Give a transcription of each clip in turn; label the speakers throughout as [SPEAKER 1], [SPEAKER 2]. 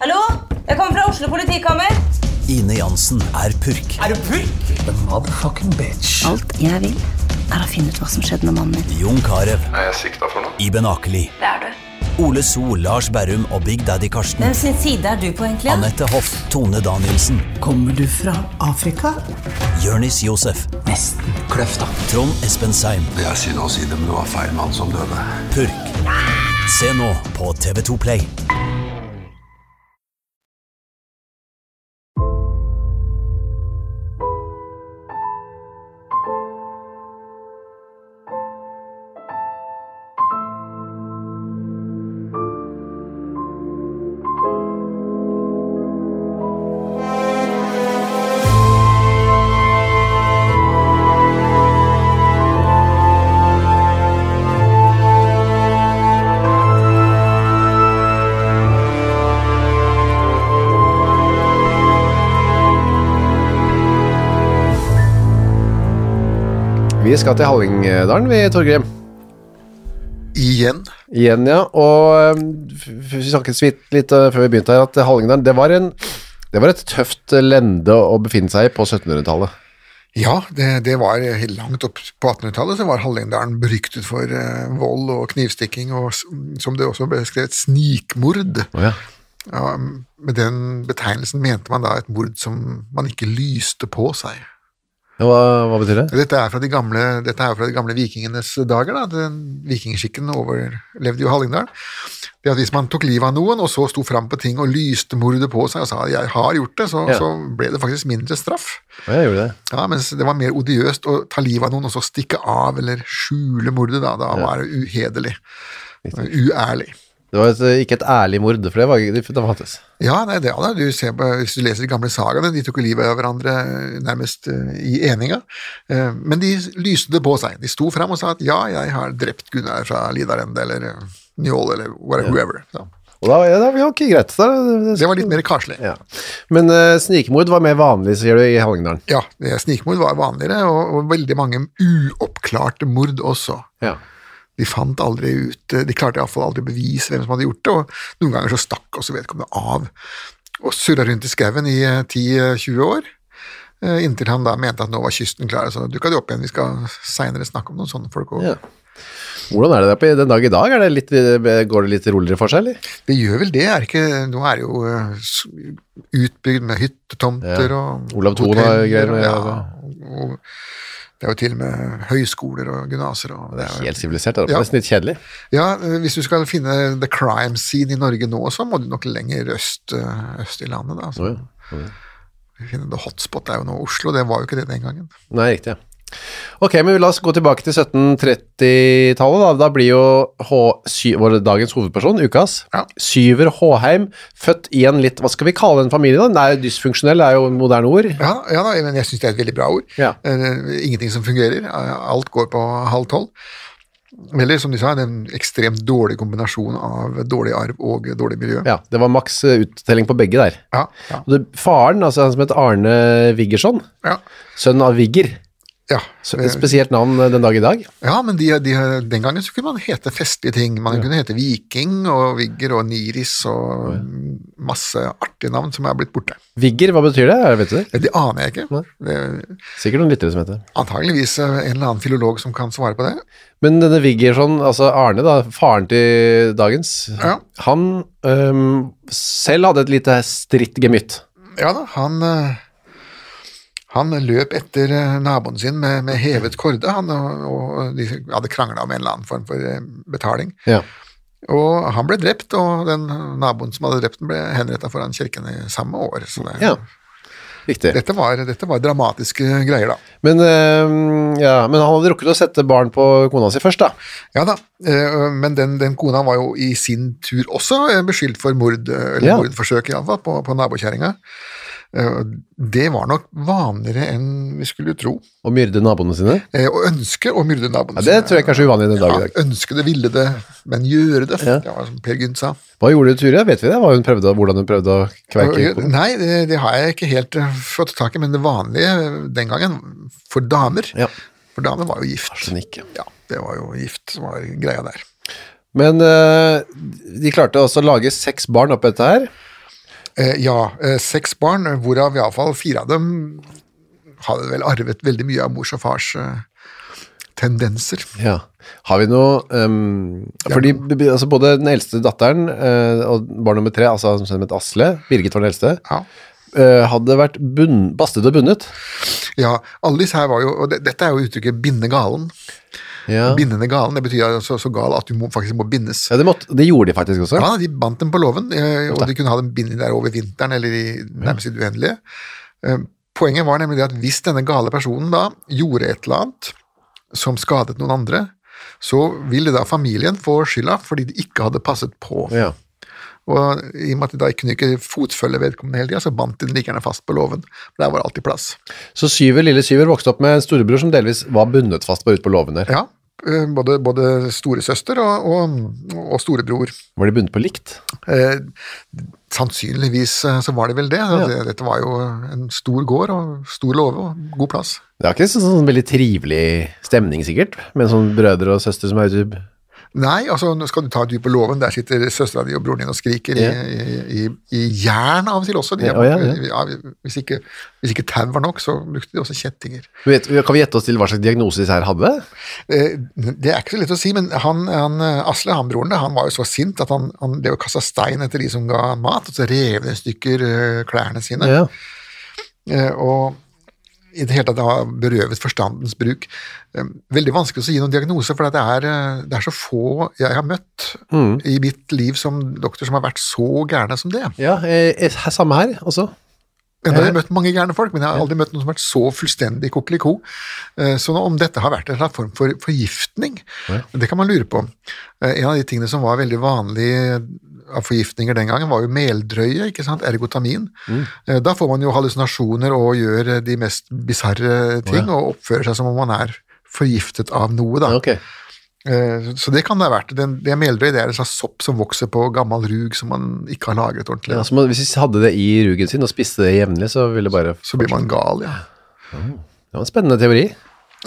[SPEAKER 1] Hallo? Jeg kommer fra Oslo politikammer.
[SPEAKER 2] Ine Jansen er purk.
[SPEAKER 3] Er du purk?
[SPEAKER 4] Alt jeg vil, er å finne ut hva som skjedde med mannen min.
[SPEAKER 2] Jon Carew,
[SPEAKER 5] er jeg sikta for noe?
[SPEAKER 2] Iben Akeli. Det er du. Ole So, Lars Berrum og Big Daddy Karsten.
[SPEAKER 1] Hvem sin side er du på, egentlig?
[SPEAKER 2] Anette Hoff, Tone Danielsen,
[SPEAKER 3] Kommer du fra Afrika?
[SPEAKER 2] Jørnis Josef,
[SPEAKER 3] Nesten. Kløfta.
[SPEAKER 2] Trond Espen Seim,
[SPEAKER 5] Det er synd å si det, men det var feil mann som døde.
[SPEAKER 2] Purk. Se nå på TV2 Play.
[SPEAKER 6] Vi skal til Hallingdalen, vi, Torgrim.
[SPEAKER 7] Igjen.
[SPEAKER 6] Igjen, ja. Og um, f- f- vi snakket så vidt litt uh, før vi begynte her, at Hallingdalen, det var en det var et tøft lende å befinne seg i på 1700-tallet.
[SPEAKER 7] Ja, det, det var helt langt opp på 1800-tallet så var Hallingdalen beryktet for eh, vold og knivstikking og s- som det også ble skrevet snikmord.
[SPEAKER 6] Å ja.
[SPEAKER 7] Ja, med den betegnelsen mente man da et mord som man ikke lyste på seg.
[SPEAKER 6] Ja, Hva, hva betyr det?
[SPEAKER 7] Dette er fra de gamle, dette er jo fra de gamle vikingenes dager, da. Den vikingskikken overlevde jo Hallingdal. Det at hvis man tok livet av noen, og så sto fram på ting og lyste mordet på seg og sa 'jeg har gjort det', så,
[SPEAKER 6] Ja.
[SPEAKER 7] så ble det faktisk mindre straff.
[SPEAKER 6] Å, jeg gjorde det.
[SPEAKER 7] Ja, mens det var mer odiøst å ta livet av noen og så stikke av eller skjule mordet, da. Da var det uhederlig. Uærlig.
[SPEAKER 6] Det var et, uh, ikke et ærlig mord, for det, var, det, det fantes.
[SPEAKER 7] Ja, nei, det er det. Du ser på, hvis du leser de gamle sagaene, de tok jo livet av hverandre nærmest eh, i eninga. Eh, Men de lyste det på seg. De sto fram og sa at ja, jeg har drept Gunnar fra Lidarende eller eh, Njål eller whatever. whoever. Så.
[SPEAKER 6] Og da, ja, da ja, ok, greit. Da, det,
[SPEAKER 7] Det var litt mer karslig.
[SPEAKER 6] ja. Men uh, snikmord var mer vanlig, sier du, i Hallingdalen.
[SPEAKER 7] Ja, det- snikmord var vanligere, og, og veldig mange uoppklarte mord også.
[SPEAKER 6] Ja.
[SPEAKER 7] De fant aldri ut De klarte iallfall aldri å bevise hvem som hadde gjort det, og noen ganger så stakk også vedkommende av og surra rundt i skauen i eh, 10-20 år. eh, Inntil han da mente at nå var kysten klar, så dukka de opp igjen. Vi skal seinere snakke om noen sånne folk òg.
[SPEAKER 6] Ja. Hvordan er det der på den dag i dag? Er det litt, eh, går det litt roligere for seg, eller?
[SPEAKER 7] Det gjør vel det, er det ikke Nå er det jo eh, s- utbygd med hyttetomter
[SPEAKER 6] Ja.
[SPEAKER 7] og
[SPEAKER 6] Olav Thon har
[SPEAKER 7] hoteller,
[SPEAKER 6] greier med- altså.
[SPEAKER 7] ja, og Det er jo til og med høyskoler og gymnaser og
[SPEAKER 6] Det er
[SPEAKER 7] jo-
[SPEAKER 6] helt sivilisert. Det er
[SPEAKER 7] Ja.
[SPEAKER 6] nesten litt kjedelig.
[SPEAKER 7] Ja, eh, hvis du skal finne the crime scene i Norge nå, så må du nok lenger øst, eh, øst i landet. da. Så
[SPEAKER 6] Å, ja.
[SPEAKER 7] finne the hotspot er jo nå Oslo, det var jo ikke det den gangen.
[SPEAKER 6] Nei, riktig. ja. Ok, men la oss gå tilbake til 1730-tallet. Da. da blir jo H sy vår dagens hovedperson, ukas,
[SPEAKER 7] Ja.
[SPEAKER 6] Syver Håheim, født i en litt Hva skal vi kalle den familien? da? Nei, dysfunksjonell er jo et moderne ord.
[SPEAKER 7] Ja, ja da, men jeg syns det er et veldig bra ord.
[SPEAKER 6] Ja.
[SPEAKER 7] Eh, Ingenting som fungerer. eh, Alt går på halv tolv. Eller som de sa, det er en ekstremt dårlig kombinasjon av dårlig arv og dårlig miljø.
[SPEAKER 6] Ja, det var maks eh, uttelling på begge der.
[SPEAKER 7] Ja, ja,
[SPEAKER 6] Og det, faren, altså han som het Arne Viggersson,
[SPEAKER 7] ja.
[SPEAKER 6] sønn av Vigger,
[SPEAKER 7] ja.
[SPEAKER 6] så, et spesielt navn eh, den dag i dag.
[SPEAKER 7] Ja, men de, de, den gangen så kunne man hete festlige ting. Man kunne hete Viking og Vigger og Niris og masse artige navn som er blitt borte.
[SPEAKER 6] Vigger, hva betyr det? Vet du det?
[SPEAKER 7] Det aner jeg ikke. Det er
[SPEAKER 6] Sikkert noen lyttere som heter det.
[SPEAKER 7] antageligvis en eller annen filolog som kan svare på det.
[SPEAKER 6] Men denne Viggersson, altså Arne da, faren til dagens,
[SPEAKER 7] Ja.
[SPEAKER 6] han øhm, selv hadde et lite stritt gemytt.
[SPEAKER 7] Ja da, han, eh, han løp etter eh, naboen sin med, med hevet korde, han, og, og de hadde krangla om en eller annen form for eh, betaling.
[SPEAKER 6] Ja.
[SPEAKER 7] Og han ble drept, og den naboen som hadde drept den, ble henretta foran kirken i samme år. Så det,
[SPEAKER 6] Ja. Riktig.
[SPEAKER 7] Dette var, dette var dramatiske greier, da.
[SPEAKER 6] Men, eh, ja, men han hadde rukket å sette barn på kona si først, da.
[SPEAKER 7] Ja da, eh, men den, den kona var jo i sin tur også eh, beskyldt for mord, eh, eller
[SPEAKER 6] Ja.
[SPEAKER 7] mordforsøk iallfall, på, på nabokjerringa. Eh, Det var nok vanligere enn vi skulle tro.
[SPEAKER 6] Og myrde naboene sine.
[SPEAKER 7] Eh, Å ønske å myrde naboen
[SPEAKER 6] Ja, det tror jeg kanskje er uvanlig den dag i dag.
[SPEAKER 7] Ja, ønske det, ville det, men gjøre det.
[SPEAKER 6] Ja.
[SPEAKER 7] Det var som Per Gynt sa.
[SPEAKER 6] Hva gjorde Ture? Vet vi det? Hva hun prøvde, hvordan hun prøvde å kverke kona?
[SPEAKER 7] Nei, det, det har jeg ikke helt eh, fått tak i, men det vanlige eh, den gangen for damer
[SPEAKER 6] Ja.
[SPEAKER 7] For damer var jo gift.
[SPEAKER 6] Arsenikk, ja.
[SPEAKER 7] Ja, det var jo gift som var greia der.
[SPEAKER 6] Men eh, de klarte også å lage seks barn oppi dette her.
[SPEAKER 7] Eh, ja, eh, seks barn, eh, hvorav iallfall fire av dem hadde vel arvet veldig mye av mors og fars eh, tendenser.
[SPEAKER 6] Ja. Har vi noe ehm, Fordi b- b- altså, både den eldste datteren eh, og barn nummer tre, altså som het Asle, Birgit var den eldste,
[SPEAKER 7] Ja.
[SPEAKER 6] eh, hadde vært bunn, bastet og bundet.
[SPEAKER 7] ja, alle disse her var jo Og det, dette er jo uttrykket 'binde galen'.
[SPEAKER 6] Ja.
[SPEAKER 7] Bindende galen, det betyr altså så gal at du må, faktisk må bindes.
[SPEAKER 6] Ja, det, måtte, det gjorde de faktisk også.
[SPEAKER 7] Ja, de bandt dem på låven, eh, og de kunne ha dem bindet der over vinteren eller i nærmest i det uendelige. Eh, Poenget var nemlig det at hvis denne gale personen da gjorde et eller annet som skadet noen andre, så ville da familien få skylda fordi de ikke hadde passet på.
[SPEAKER 6] Ja.
[SPEAKER 7] Og i og med at de da ikke kunne ikke fotfølge vedkommende hele tida, så bandt de den like gjerne fast på låven. For Der var det alltid plass.
[SPEAKER 6] Så Syver, lille Syver vokste opp med en storebror som delvis var bundet fast bare ut på låven der.
[SPEAKER 7] Ja, eh, både, både storesøster og, og, og storebror.
[SPEAKER 6] Var de bundet på likt?
[SPEAKER 7] Eh, sannsynligvis eh, så var det vel det.
[SPEAKER 6] Ja.
[SPEAKER 7] Dette var jo en stor gård og stor låve og god plass.
[SPEAKER 6] Det var ikke sånn, sånn veldig trivelig stemning sikkert, med sånn brødre og søstre som er ute i-
[SPEAKER 7] Nei, altså nå skal du ta en tur på låven, der sitter søstera di og broren din og skriker
[SPEAKER 6] Ja.
[SPEAKER 7] i, i, i, i jern av og til også. De,
[SPEAKER 6] Ja, å, ja,
[SPEAKER 7] hvis, ikke, hvis ikke tau var nok, så brukte de også kjettinger.
[SPEAKER 6] Du vet, Kan vi gjette oss til hva slags diagnose disse her hadde?
[SPEAKER 7] Eh, Det er ikke så lett å si, men han, han, eh, Asle, han broren, da, han var jo så sint at han, han drev og kasta stein etter de som ga han mat, og så rev de i stykker eh, klærne sine.
[SPEAKER 6] Ja.
[SPEAKER 7] Eh, Og i det hele tatt har berøvet forstandens bruk. Eh, Veldig vanskelig å gi noen diagnose, for det er, eh, det er så få jeg har møtt i mitt liv som doktor som har vært så gærne som det.
[SPEAKER 6] eh, eh, samme her også.
[SPEAKER 7] Jeg har jeg
[SPEAKER 6] Eh.
[SPEAKER 7] møtt mange gærne folk, men jeg har aldri møtt noen som har vært så fullstendig kokeliko. Eh, Så nå om dette har vært en eller annen form for forgiftning, det kan man lure på. Eh, En av de tingene som var veldig vanlig eh, av forgiftninger den gangen, var jo meldrøye, ikke sant? ergotamin.
[SPEAKER 6] Mm.
[SPEAKER 7] Eh, Da får man jo hallusinasjoner og gjør eh, de mest bisarre ting, og oppfører seg som om man er forgiftet av noe. Da.
[SPEAKER 6] Ok.
[SPEAKER 7] Eh, Så det kan det ha vært. Den- Det meldrøye det er en slags sopp som vokser på gammel rug som man ikke har lagret ordentlig.
[SPEAKER 6] Ja, så man, hvis vi hadde det i rugen sin og spiste det jevnlig, så ville det bare
[SPEAKER 7] Så blir man gal, ja.
[SPEAKER 6] Det var en spennende teori.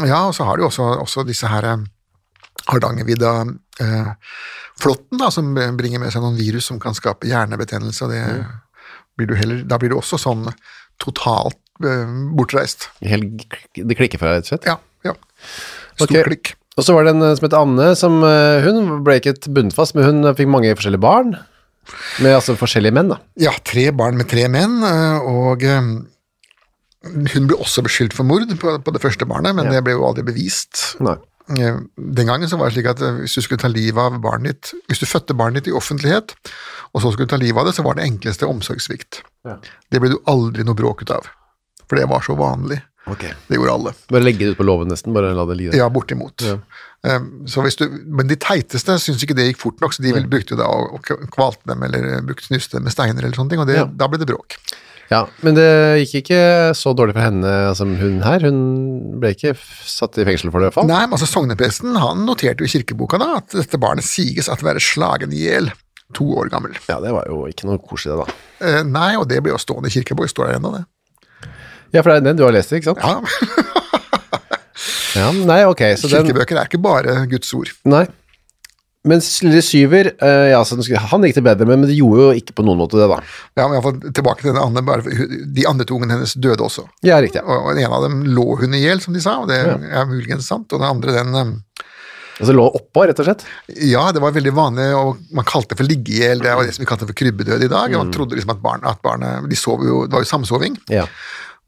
[SPEAKER 7] Ja, og så har du også, også disse her eh, Hardangervidda eh, flåtten, da, som bringer med seg noen virus som kan skape hjernebetennelse, og det blir du heller Da blir du også sånn totalt eh, bortreist.
[SPEAKER 6] Helt, det klikker for deg, rett og slett.
[SPEAKER 7] Ja. ja. Stor
[SPEAKER 6] Ok.
[SPEAKER 7] klikk.
[SPEAKER 6] Og så var det en eh, som het Anne, som eh, hun ble ikke bundet fast, men hun eh, fikk mange forskjellige barn. Med altså forskjellige menn, da.
[SPEAKER 7] Ja, tre barn med tre menn, eh, og eh, hun ble også beskyldt for mord på, på det første barnet, men det ble jo aldri bevist.
[SPEAKER 6] Nei.
[SPEAKER 7] Eh, Den gangen så var det slik at eh, hvis du skulle ta livet av barnet ditt, hvis du fødte barnet ditt i offentlighet, og så skulle du ta livet av det, så var det enkleste omsorgssvikt. Det ble du aldri noe bråk ut av, for det var så vanlig. Det gjorde alle.
[SPEAKER 6] Bare legge det ut på låven, nesten. Bare la det ligge der.
[SPEAKER 7] Ja, bortimot. Eh, Så hvis du, men de teiteste syntes ikke det gikk fort nok, så de ville, brukte jo da å å kvalte dem eller eh, brukte knuste dem med steiner eller sånne ting, og det,
[SPEAKER 6] Ja.
[SPEAKER 7] da ble det bråk.
[SPEAKER 6] Ja, men det gikk ikke så dårlig for henne som hun her. Hun ble ikke f- satt i fengsel for det, i hvert fall.
[SPEAKER 7] Nei, men altså Sognepresten han noterte jo i kirkeboka da at dette barnet sies at være slagen i hjel, to år gammel.
[SPEAKER 6] Ja, det var jo ikke noe koselig, det, da.
[SPEAKER 7] Eh, Nei, og det ble jo stående i kirkeboka, står der ennå, det.
[SPEAKER 6] Ja, for det er den du har lest, ikke sant?
[SPEAKER 7] Ja,
[SPEAKER 6] Ja, nei, ok. Så den,
[SPEAKER 7] Kirkebøker er ikke bare Guds ord.
[SPEAKER 6] Nei. Mens lille syver, eh, ja, så den skulle- han gikk det bedre, men men det gjorde jo ikke på noen måte det, da.
[SPEAKER 7] Ja, men i alle fall tilbake til den andre, bare, De andre to ungene hennes døde også.
[SPEAKER 6] Ja, riktig.
[SPEAKER 7] Og og den ene av dem lå hun i hjel, som de sa, og det er muligens sant. Og den andre, den eh,
[SPEAKER 6] Altså lå oppå, rett og slett.
[SPEAKER 7] Ja, det var veldig vanlig, og man kalte det for liggehjel. Det var det som vi kalte for krybbedød i dag. og Man trodde liksom at, barn, at barnet De sov jo Det var jo samsoving.
[SPEAKER 6] Mm. Ja.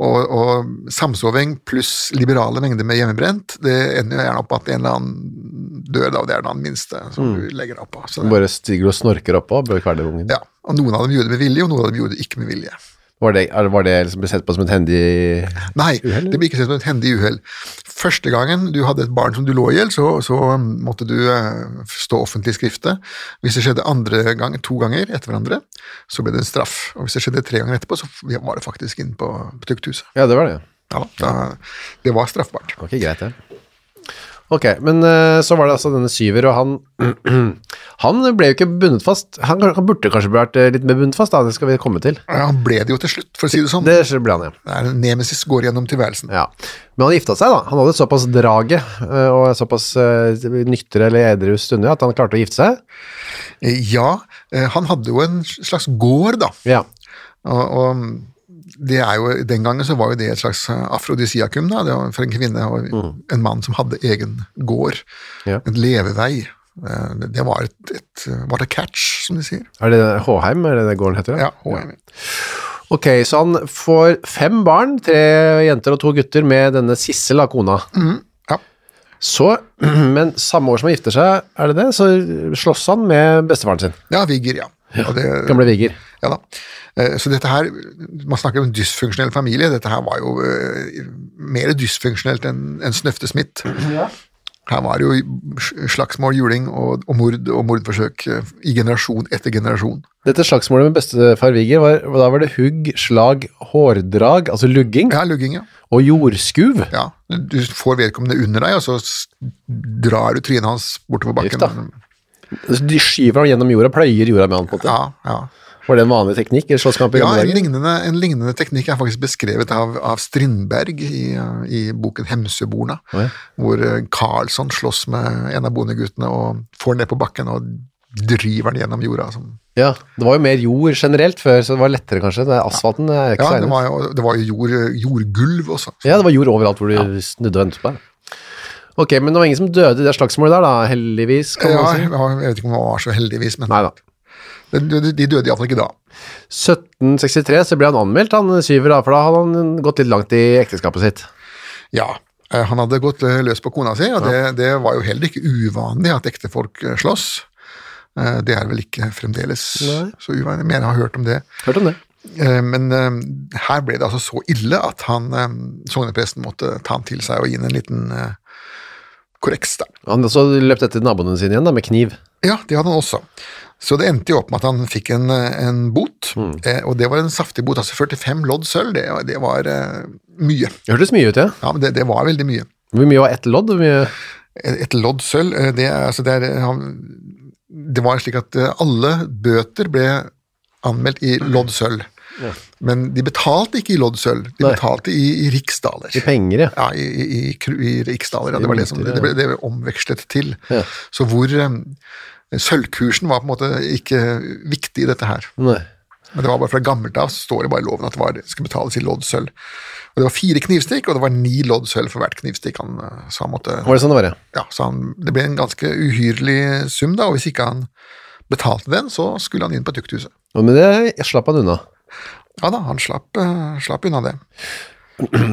[SPEAKER 7] Og, og samsoving pluss liberale mengder med hjemmebrent, det ender jo gjerne opp at en eller annen dør, da, og det er den minste som
[SPEAKER 6] Mm.
[SPEAKER 7] du legger deg oppå. Så det-
[SPEAKER 6] Bare stiger og snorker oppå, bør kvele ungen.
[SPEAKER 7] Ja, og noen av dem gjorde det med vilje, og noen av dem gjorde det ikke med vilje.
[SPEAKER 6] Var det, er- var det liksom ble sett på som et hendig
[SPEAKER 7] Nei, det blir ikke sett som et hendig uhell. Første gangen du hadde et barn som du lå i hjel, så, så um, måtte du eh, stå offentlig i skriftet. Hvis det skjedde andre gang, to ganger etter hverandre, så ble det en straff. Og hvis det skjedde tre ganger etterpå, så var det faktisk inne på, på tukthuset.
[SPEAKER 6] Ja, det var det.
[SPEAKER 7] Ja, da, det var straffbart.
[SPEAKER 6] Ok, greit det. Ok, men eh, så var det altså denne syver, og han, han ble jo ikke bundet fast. Han, han burde kanskje vært eh, litt mer bundet fast, da. det skal vi komme til.
[SPEAKER 7] Ja, han ble det jo til slutt, for å si det sånn.
[SPEAKER 6] Det ble han, ja.
[SPEAKER 7] Det er en nemesis går gjennom tilværelsen.
[SPEAKER 6] ja. Men han gifta seg da, han hadde såpass draget eh, og såpass eh, nyktre eller edre stunder at han klarte å gifte seg.
[SPEAKER 7] Eh, Ja, eh, han hadde jo en slags gård, da.
[SPEAKER 6] Ja,
[SPEAKER 7] Og, og det er jo, den gangen så var jo det et slags eh, afrodisiakum, da. Det var for en kvinne og en mann som hadde egen gård.
[SPEAKER 6] Ja.
[SPEAKER 7] En levevei. Eh, Det det var et, et var det catch, som de sier.
[SPEAKER 6] er det Håheim, er det det gården heter?
[SPEAKER 7] Ja, HM.
[SPEAKER 6] Ok, så han får fem barn, tre jenter og to gutter, med denne Sissel, da, kona.
[SPEAKER 7] Mm. ja.
[SPEAKER 6] Så, men samme år som han gifter seg, er det det, så slåss han med bestefaren sin.
[SPEAKER 7] ja Vigger, ja. Og det,
[SPEAKER 6] Gamle Vigger.
[SPEAKER 7] ja da. Eh, Så dette her, man snakker om en dysfunksjonell familie, dette her var jo eh, mer dysfunksjonelt enn enn snøftesmitt. Her var det jo sl- slagsmål, juling og, og mord og mordforsøk eh, i generasjon etter generasjon.
[SPEAKER 6] Dette slagsmålet med bestefar Vigger, var, da var det hugg, slag, hårdrag, altså lugging,
[SPEAKER 7] Ja, lugging, ja.
[SPEAKER 6] og jordskuv.
[SPEAKER 7] ja, du får vedkommende under deg, og så s- drar du trynet hans bortover
[SPEAKER 6] Gift,
[SPEAKER 7] bakken.
[SPEAKER 6] da. De skyver ham gjennom jorda, pløyer jorda med han på en måte.
[SPEAKER 7] Ja, ja.
[SPEAKER 6] Var det en vanlig teknikk i slåsskamp i
[SPEAKER 7] ja
[SPEAKER 6] gamle
[SPEAKER 7] en,
[SPEAKER 6] dager?
[SPEAKER 7] lignende, en lignende teknikk er faktisk beskrevet av, av Strindberg i, uh, i boken 'Hemseborna',
[SPEAKER 6] Å ja.
[SPEAKER 7] hvor uh, Karlsson slåss med en av bondeguttene og får den ned på bakken og driver den gjennom jorda. Som,
[SPEAKER 6] Ja, det var jo mer jord generelt før, så det var lettere kanskje. Det er asfalten det er ikke
[SPEAKER 7] ja,
[SPEAKER 6] så egnet.
[SPEAKER 7] det var jo, det var jo jord, jordgulv også.
[SPEAKER 6] Ja, det var jord overalt hvor du snudde og ventet på deg. Ok, men det var ingen som døde i det slagsmålet der, da, heldigvis. Kan
[SPEAKER 7] Ja,
[SPEAKER 6] man
[SPEAKER 7] jeg
[SPEAKER 6] si.
[SPEAKER 7] vet ikke om han var så heldigvis, men
[SPEAKER 6] Nei da.
[SPEAKER 7] de, de, de døde iallfall ikke da.
[SPEAKER 6] 1763 så ble han anmeldt, han syver, da, for da hadde han gått litt langt i ekteskapet sitt.
[SPEAKER 7] Ja, eh, han hadde gått eh, løs på kona si, og det, det var jo heller ikke uvanlig at ektefolk eh, slåss. Eh, Det er vel ikke fremdeles
[SPEAKER 6] Nei.
[SPEAKER 7] så uvanlig, men jeg har hørt om det.
[SPEAKER 6] Hørte om det?
[SPEAKER 7] Eh, Men eh, her ble det altså så ille at han, eh, sognepresten måtte ta han til seg og gi han en liten eh, korreks. da.
[SPEAKER 6] Han så løpt etter naboene sine igjen da, med kniv.
[SPEAKER 7] Ja, det hadde han også. Så det endte jo opp med at han fikk en, eh, en bot, eh, og det var en saftig bot. Altså 45 lodd sølv, det, det var eh, mye.
[SPEAKER 6] Det hørtes mye ut, ja.
[SPEAKER 7] Ja, men det, det var veldig mye.
[SPEAKER 6] Hvor mye var ett lodd? Hvor mye...
[SPEAKER 7] Et et lodd sølv eh, det, er- altså det, er, eh, han- det var slik at eh, alle bøter ble anmeldt i lodd sølv. Men de betalte ikke i lodd sølv, de
[SPEAKER 6] Nei.
[SPEAKER 7] betalte i, i riksdaler.
[SPEAKER 6] I penger, ja.
[SPEAKER 7] Ja, i, i, i, kru- i riksdaler. Ja, det, var det, som,
[SPEAKER 6] mynter, ja.
[SPEAKER 7] det, ble, det ble omvekslet til. Så hvor eh, Sølvkursen var på en måte ikke viktig i dette her.
[SPEAKER 6] Nei.
[SPEAKER 7] Men det var bare fra gammelt av så står det bare i loven at det var, skulle betales i lodd sølv. Og det var fire knivstikk, og det var ni lodd sølv for hvert knivstikk han, eh, så han måtte
[SPEAKER 6] Var det sånn det var, ja?
[SPEAKER 7] ja, så han, det ble en ganske uhyrlig sum, da, og hvis ikke han betalte den, så skulle han inn på tukthuset.
[SPEAKER 6] Og Men det slapp han unna.
[SPEAKER 7] Ja da, han slapp, eh, slapp unna det.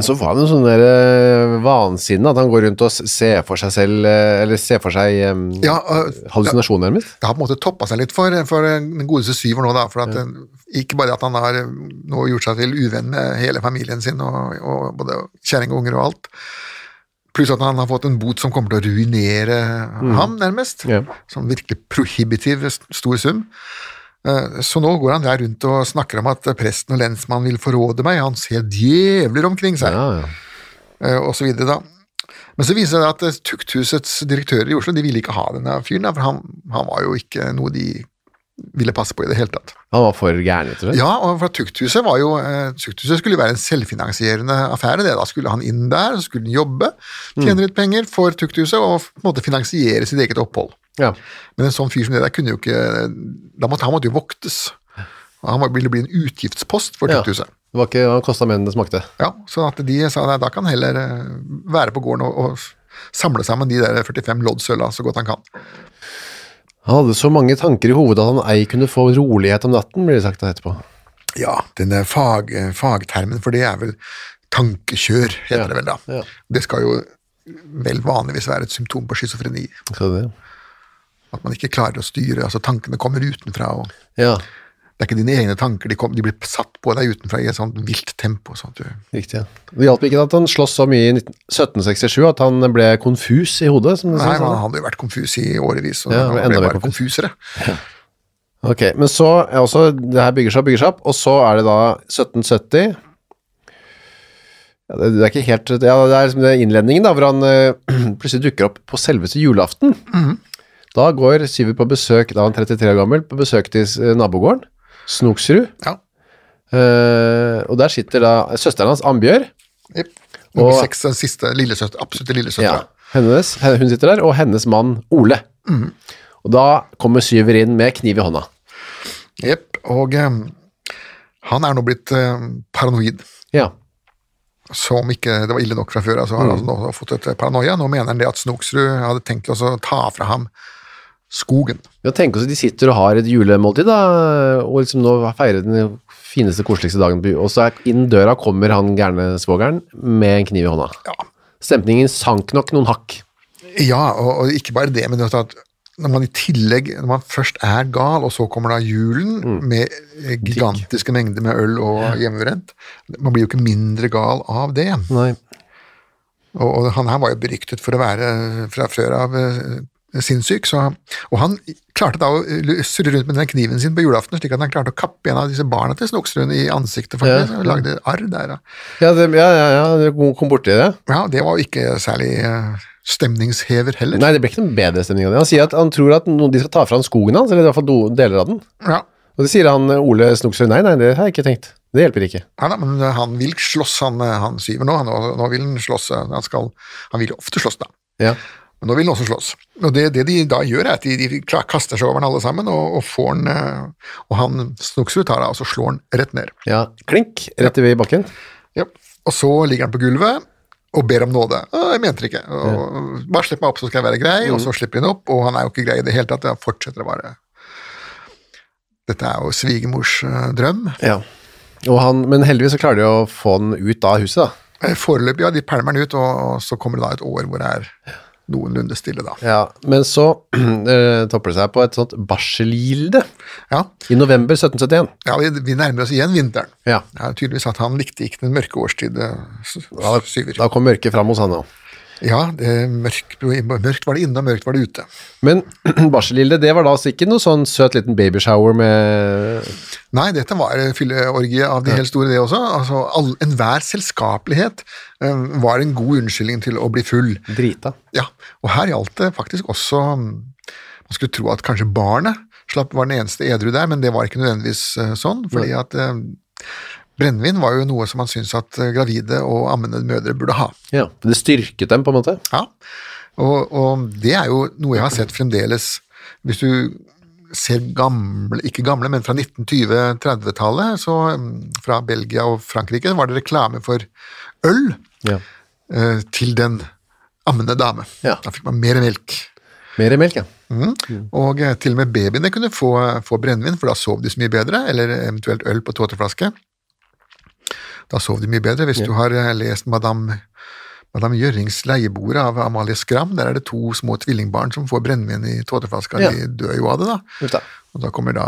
[SPEAKER 6] Så var det noe sånn der eh, vansinne, at han går rundt og s- ser for seg selv, eh, eller ser for seg um,
[SPEAKER 7] Ja, eh, det,
[SPEAKER 6] hallusinasjon nærmest.
[SPEAKER 7] det har på en måte toppa seg litt for, for eh, den godeste syver nå, da. For at, eh, ikke bare at han har eh, nå gjort seg til uvenn med hele familien sin, og, og både kjerring og unger og alt. Pluss at han har fått en bot som kommer til å ruinere ham, nærmest.
[SPEAKER 6] Ja.
[SPEAKER 7] Som virkelig prohibitiv st- stor sum. Eh, Så nå går han der rundt og snakker om at presten og lensmannen vil forråde meg, han ser djevler omkring seg,
[SPEAKER 6] Ja, ja.
[SPEAKER 7] eh, og så videre da. Men så viser det seg at eh, tukthusets direktører i Oslo de ville ikke ha denne fyren, da, for han, han var jo ikke noe de ville passe på i det hele tatt.
[SPEAKER 6] Han var for gæren, rett og slett.
[SPEAKER 7] Ja, og for tukthuset var jo eh, Tukthuset skulle jo være en selvfinansierende affære. Det. Da skulle han inn der, så skulle han jobbe, tjene litt penger for tukthuset og på en måte finansiere sitt eget opphold.
[SPEAKER 6] Ja.
[SPEAKER 7] Men en sånn fyr som det der kunne jo ikke da måtte, Han måtte jo voktes. Han var- ville bli en utgiftspost for
[SPEAKER 6] Ja.
[SPEAKER 7] tukthuset.
[SPEAKER 6] Det var ikke, han kostet mer enn det smakte.
[SPEAKER 7] Ja, så at de sa nei, da kan han heller eh, være på gården og, og samle sammen de der 45 loddsøla så godt han kan.
[SPEAKER 6] Han hadde så mange tanker i hovedet at han ei kunne få rolighet om natten, blir det sagt da etterpå.
[SPEAKER 7] Ja, den der fag, eh, fagtermen, for det er vel tankekjør, heter
[SPEAKER 6] Ja,
[SPEAKER 7] det vel da.
[SPEAKER 6] ja.
[SPEAKER 7] Det skal jo vel vanligvis være et symptom på schizofreni.
[SPEAKER 6] Skal det?
[SPEAKER 7] At man ikke klarer å styre, altså tankene kommer utenfra. Og
[SPEAKER 6] Ja.
[SPEAKER 7] Det er ikke dine egne tanker, de, kom, de blir satt på deg utenfra i et sånt vilt tempo. Sånn at du,
[SPEAKER 6] Riktig, ja. Det hjalp ikke at han sloss så mye i 19- 1767 at han ble konfus i hodet. Som det
[SPEAKER 7] nei,
[SPEAKER 6] sies.
[SPEAKER 7] man hadde jo vært konfus i årevis, og
[SPEAKER 6] Ja,
[SPEAKER 7] man
[SPEAKER 6] enda
[SPEAKER 7] ble
[SPEAKER 6] mer
[SPEAKER 7] bare konfusere.
[SPEAKER 6] Ok, men så er også, det her bygger seg opp, bygger seg opp, og så er det da 1770. Ja, det, det er ikke helt, ja, det er liksom det innledningen da, hvor han eh, plutselig dukker opp på selveste julaften. Da går Sivert på besøk, da er han 33 år gammel, på besøk til eh, nabogården, Snoksrud,
[SPEAKER 7] Ja.
[SPEAKER 6] eh, og der sitter da søsteren hans, Ambjør,
[SPEAKER 7] Jep. Nummer
[SPEAKER 6] Og-
[SPEAKER 7] seks, den siste lillesøster, absolutte
[SPEAKER 6] ja,
[SPEAKER 7] lillesøstera.
[SPEAKER 6] hennes, hen- hun sitter der, og hennes mann, Ole. Og da kommer Syver inn med kniv i hånda.
[SPEAKER 7] Jep, og em, han er nå blitt em, paranoid.
[SPEAKER 6] Ja,
[SPEAKER 7] Som ikke det var ille nok fra før, altså, har han altså nå fått et paranoia. Nå mener han det at Snoksrud hadde tenkt til å ta fra ham skogen.
[SPEAKER 6] Ja, tenk oss at de sitter og har et julemåltid da, og liksom nå feirer den fineste, koseligste dagen, på- og så er, inn døra kommer han gærne svogeren med en kniv i hånda.
[SPEAKER 7] Ja,
[SPEAKER 6] Stemningen sank nok noen hakk.
[SPEAKER 7] ja og, og ikke bare det, men det at når man i tillegg, når man først er gal, og så kommer da julen med eh, gigantiske mengder med øl og hjemmebrent, man blir jo ikke mindre gal av det.
[SPEAKER 6] Nei.
[SPEAKER 7] Og, og han her var jo beryktet for å være fra før av eh, sinnssyk, så, og han klarte da å eh, surre rundt med den kniven sin på julaften, slik at han klarte å kappe en av disse barna til Snoksrud i ansiktet, faktisk,
[SPEAKER 6] Ja.
[SPEAKER 7] og lagde arr der. da.
[SPEAKER 6] Ja, det, ja, ja, ja, det kom kom borti det.
[SPEAKER 7] Ja, det var jo ikke særlig eh, stemningshever heller.
[SPEAKER 6] Nei, det ble ikke noen bedre stemning av det. Han sier at han tror at noen, de skal ta fra han skogen hans, eller i hvert fall do- deler av den.
[SPEAKER 7] Ja.
[SPEAKER 6] Og det sier han eh, Ole Snoksrud, nei, nei, det har jeg ikke tenkt. Det hjelper ikke.
[SPEAKER 7] Nei da, men eh, han vil slåss, han, eh, han syver nå. Han, nå vil han slåss. eh, Han, skal, han vil ofte slåss, da.
[SPEAKER 6] Ja.
[SPEAKER 7] Men nå vil han også slåss. Og det, det de da gjør, er at de, de kla- kaster seg over han alle sammen, og, og får han eh, Og han Snoksrud tar av, og så slår han rett ned.
[SPEAKER 6] Ja, klink, rett i bakken.
[SPEAKER 7] Ja. Og så ligger han på gulvet og ber om nåde. «Å, Jeg mente det ikke. Og, bare slipp meg opp, så skal jeg være grei. Og
[SPEAKER 6] Mm.
[SPEAKER 7] så slipper han opp, og han er jo ikke grei i det hele tatt. Han fortsetter å være Dette er jo svigermors eh, drøm.
[SPEAKER 6] Ja. Og han, men heldigvis så klarer de å få han ut av huset da.
[SPEAKER 7] Eh, Foreløpig, ja. De pælmer den ut, og og så kommer det da et år hvor det er noenlunde stille, da.
[SPEAKER 6] Ja, men så eh, topper det seg på et sånt barselgilde
[SPEAKER 7] Ja,
[SPEAKER 6] i november 1771.
[SPEAKER 7] ja vi, vi nærmer oss igjen vinteren.
[SPEAKER 6] Ja,
[SPEAKER 7] Det er tydeligvis at han likte ikke den mørke årstid, eh, s- syver.
[SPEAKER 6] da kom mørket fram hos han òg.
[SPEAKER 7] Ja, det, mørkt, mørkt var det inne, og mørkt var det ute.
[SPEAKER 6] Men barselgilde, det var da altså ikke noe sånn søt liten babyshower med
[SPEAKER 7] Nei, dette var en fylleorgie av de helt store, det også. Altså, all, enhver selskapelighet eh, var en god unnskyldning til å bli full.
[SPEAKER 6] drita.
[SPEAKER 7] Ja, og her gjaldt det faktisk også mm, Man skulle tro at kanskje barnet slapp var den eneste edru der, men det var ikke nødvendigvis eh, sånn. fordi at eh, brennevin var jo noe som man syntes at eh, gravide og ammende mødre burde ha.
[SPEAKER 6] Ja, Det styrket dem, på en måte?
[SPEAKER 7] Ja, og, og det er jo noe jeg har sett fremdeles. Hvis du ser gamle, ikke gamle, men fra 1920-30-tallet, så mm, fra Belgia og Frankrike, var det reklame for øl
[SPEAKER 6] Ja.
[SPEAKER 7] eh, til den ammende dame.
[SPEAKER 6] Ja.
[SPEAKER 7] Da fikk man mer melk.
[SPEAKER 6] Mer melk, ja.
[SPEAKER 7] Og eh, til og med babyene kunne få, få brennevin, for da sov de så mye bedre, eller eventuelt øl på tåteflaske. Da sov de mye bedre. Hvis du har eh, lest Madame, Madame Gjørings leiebord av Amalie Skram, der er det to små tvillingbarn som får brennevin i tåteflaska.
[SPEAKER 6] Ja.
[SPEAKER 7] De dør jo av det, da.
[SPEAKER 6] Uff da.
[SPEAKER 7] Og da kommer da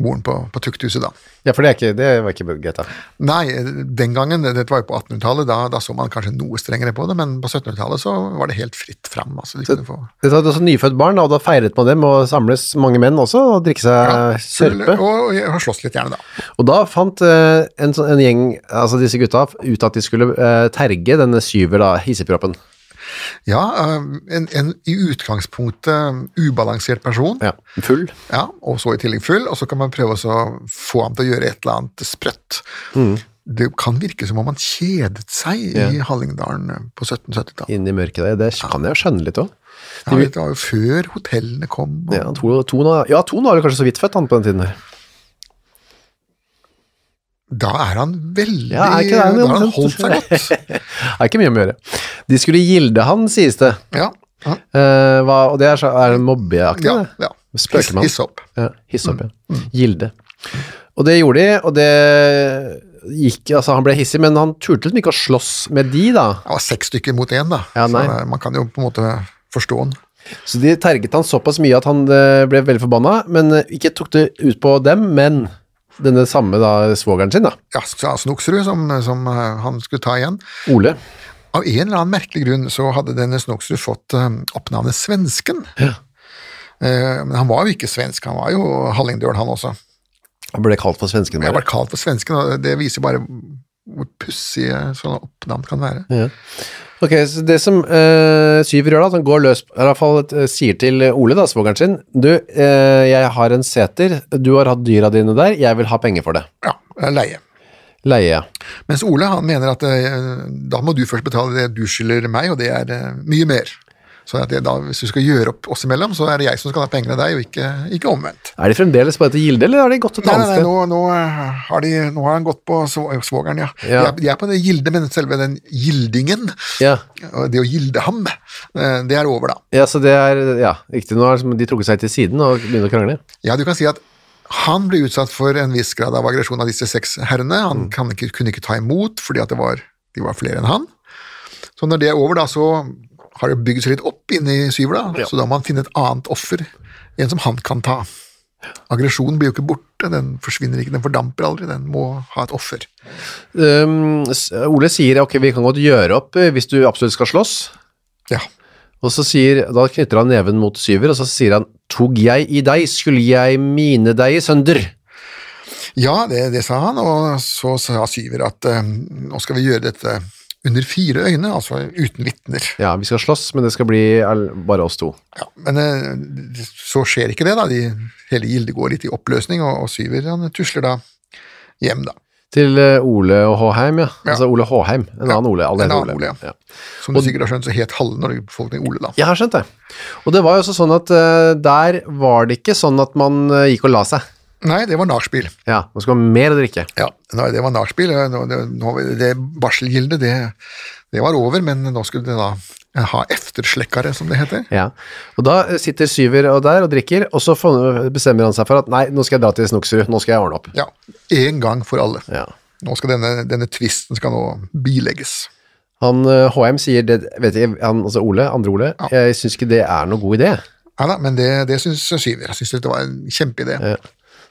[SPEAKER 7] moren på, på tukthuset, da.
[SPEAKER 6] Ja, for det, er ikke, det var ikke greit, da.
[SPEAKER 7] Nei, eh, den gangen, dette var jo på 1800-tallet, da, da så man kanskje noe strengere på det, men på 1700-tallet så var det helt fritt fram. Altså, de kunne få...
[SPEAKER 6] Dette var også nyfødt barn, da, og da feiret man dem og samles mange menn også og drikke seg sørpe.
[SPEAKER 7] Og, og, og slåss litt gjerne, da.
[SPEAKER 6] Og da fant eh, en, sånn- en gjeng, altså disse gutta, ut at de skulle eh, terge denne syver, da, hissigproppen.
[SPEAKER 7] Ja, eh, en, en i utgangspunktet um, ubalansert person,
[SPEAKER 6] Ja. Full.
[SPEAKER 7] ja, og så i tillegg full, og så kan man prøve også å få ham til å gjøre et eller annet sprøtt.
[SPEAKER 6] Mm.
[SPEAKER 7] Det kan virke som om han kjedet seg i Hallingdalen eh, på 1770-tallet.
[SPEAKER 6] inn i mørket der. Det kan jeg jo skjønne litt òg.
[SPEAKER 7] Ja, det var jo før hotellene kom. Og,
[SPEAKER 6] Ja, Ton ja, Thon var vel kanskje så vidt født han på den tiden her.
[SPEAKER 7] Da er han veldig
[SPEAKER 6] Ja, er ikke det
[SPEAKER 7] Da
[SPEAKER 6] han-
[SPEAKER 7] har han holdt seg godt.
[SPEAKER 6] Det er ikke mye om å gjøre. De skulle gilde han, sies det.
[SPEAKER 7] Ja, ja,
[SPEAKER 6] Eh, hva, og det er, så, er det mobbeaktig,
[SPEAKER 7] ja.
[SPEAKER 6] det?
[SPEAKER 7] ja.
[SPEAKER 6] Spøker man.
[SPEAKER 7] Hiss opp.
[SPEAKER 6] Ja, hisse opp, ja. Gilde. Og det gjorde de, og det gikk Altså, han ble hissig, men han turte liksom ikke å slåss med de, da.
[SPEAKER 7] Det var seks stykker mot én, da.
[SPEAKER 6] Ja, nei.
[SPEAKER 7] Så eh, man kan jo på en måte forstå han.
[SPEAKER 6] Så de terget han såpass mye at han eh, ble veldig forbanna, men eh, ikke tok det ut på dem, men denne samme da, svogeren sin, da,
[SPEAKER 7] Ja, sa Snoksrud, som, som eh, han skulle ta igjen.
[SPEAKER 6] Ole.
[SPEAKER 7] Av en eller annen merkelig grunn så hadde denne Snoksrud fått eh, oppnavnet Svensken. Eh, Men han var jo ikke svensk, han var jo hallingdøl, han også.
[SPEAKER 6] Han ble kalt for svensken
[SPEAKER 7] Men jeg
[SPEAKER 6] bare.
[SPEAKER 7] ble kalt for svensken, og det viser bare hvor pussige sånne oppnavn kan være.
[SPEAKER 6] Ok, så det som eh, Syver gjør da, at han går løs, i hvert fall eh, sier til Ole da, svogeren sin, du, eh, jeg har en seter, du har hatt dyra dine der, jeg vil ha penger for det.
[SPEAKER 7] Ja, eh, leie.
[SPEAKER 6] Leie.
[SPEAKER 7] Mens Ole han mener at eh, da må du først betale det du skylder meg, og det er eh, mye mer. Så at det, da, hvis du skal gjøre opp oss imellom, så er det jeg som skal ha pengene av deg, og ikke, ikke omvendt.
[SPEAKER 6] Er de fremdeles på dette gilde, eller har de gått et
[SPEAKER 7] Nei, nei,
[SPEAKER 6] annet
[SPEAKER 7] nei
[SPEAKER 6] sted?
[SPEAKER 7] nå, nå, eh, har de, nå har han gått på svo- svogeren, ja. De,
[SPEAKER 6] Ja.
[SPEAKER 7] er, de er på det gilde, men selve den gildingen,
[SPEAKER 6] Ja.
[SPEAKER 7] og det å gilde ham, eh, det er over, da.
[SPEAKER 6] ja, så det er, ja, riktig, nå har de trukket seg til siden og begynner å krangle.
[SPEAKER 7] Ja, du kan si at han ble utsatt for en viss grad av aggresjon av disse seks herrene. Han kan ikke, kunne ikke ta imot fordi at det var, de var flere enn han. Så når det er over, da, så har det bygd seg litt opp inni syvla, så da må han finne et annet offer. En som han kan ta. Aggresjonen blir jo ikke borte, den forsvinner ikke, den fordamper aldri. Den må ha et offer.
[SPEAKER 6] Um, s- Ole sier, ok, vi kan godt gjøre opp eh, hvis du absolutt skal slåss.
[SPEAKER 7] Ja.
[SPEAKER 6] Og så sier, da knytter han neven mot syver, og så sier han, tog jeg i deg, skulle jeg mine deg i sønder.
[SPEAKER 7] Ja, det, det sa han, og så sa Syver at eh, nå skal vi gjøre dette under fire øyne, altså uten vitner.
[SPEAKER 6] Ja, vi skal slåss, men det skal bli all- bare oss to.
[SPEAKER 7] Ja, men eh, så skjer ikke det, da. De, hele Gilde går litt i oppløsning, og, og Syver han tusler da hjem, da.
[SPEAKER 6] Til eh, Ole og Håheim, ja.
[SPEAKER 7] Ja.
[SPEAKER 6] Altså Ole Håheim, en annen Ole. alle
[SPEAKER 7] en
[SPEAKER 6] heter
[SPEAKER 7] annen Ole, ja.
[SPEAKER 6] ja.
[SPEAKER 7] Som du sikkert har skjønt, så het halve Norge-befolkningen Ole, da.
[SPEAKER 6] Jeg har skjønt det. Og det var jo også sånn at eh, der var det ikke sånn at man eh, gikk og la seg.
[SPEAKER 7] Nei, det var nachspiel.
[SPEAKER 6] Ja, man skulle ha mer å drikke.
[SPEAKER 7] Ja, nei, det var nachspiel. og nå- Det, nå- det barselgildet, det, det var over, men nå skulle det da ha efterslekkere, som det heter.
[SPEAKER 6] Ja. Og da eh, sitter Syver og der og drikker, og så fon- bestemmer han seg for at nei, nå skal jeg dra til Snoksrud, nå skal jeg ordne opp.
[SPEAKER 7] Ja, én gang for alle.
[SPEAKER 6] Ja.
[SPEAKER 7] Nå skal denne, denne tvisten skal nå bilegges.
[SPEAKER 6] Han, eh, HM sier, det, vet ikke, han, altså Ole, andre Ole, jeg synes ikke det er noe god idé.
[SPEAKER 7] Nei da, men det, det syns Syver. Jeg syns dette var en kjempeidé.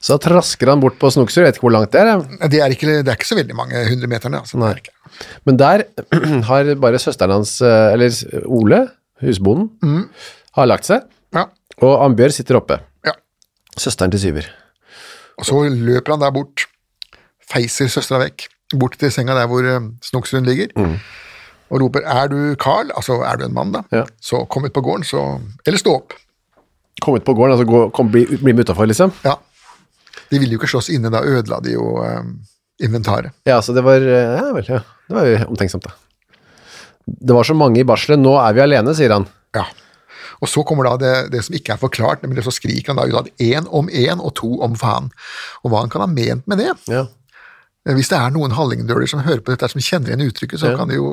[SPEAKER 6] Så da trasker han bort på Snoksrud, jeg vet ikke hvor langt det er, jeg.
[SPEAKER 7] Det, er ikke, det er ikke så veldig mange hundremeterne. Altså, det er ikke.
[SPEAKER 6] Men der har bare søsteren hans, eh, eller Ole, husbonden, har lagt seg,
[SPEAKER 7] Ja,
[SPEAKER 6] og Ambjørg sitter oppe.
[SPEAKER 7] ja.
[SPEAKER 6] Søsteren til Syver.
[SPEAKER 7] Og så løper han der bort, feiser søstera vekk, bort til senga der hvor eh, Snoksrud ligger, og roper 'Er du Carl?' Altså, er du en mann, da?
[SPEAKER 6] Ja.
[SPEAKER 7] Så kom ut på gården, så Eller stå opp.
[SPEAKER 6] Kom ut på gården, altså gå, kom, bli, bli med utenfor, liksom.
[SPEAKER 7] Ja. De ville jo ikke slåss inne, da ødela de jo eh, inventaret.
[SPEAKER 6] Ja, så det var, eh, ja vel, ja. Det var jo omtenksomt da. Det var så mange i barselet, nå er vi alene, sier han.
[SPEAKER 7] Ja. Og så kommer da det, det som ikke er forklart, nemlig så skriker han da ut at én om én og to om faen. Og hva han kan ha ment med det?
[SPEAKER 6] Ja.
[SPEAKER 7] Hvis det er noen hallingdøler som hører på dette, som kjenner igjen uttrykket, så kan de jo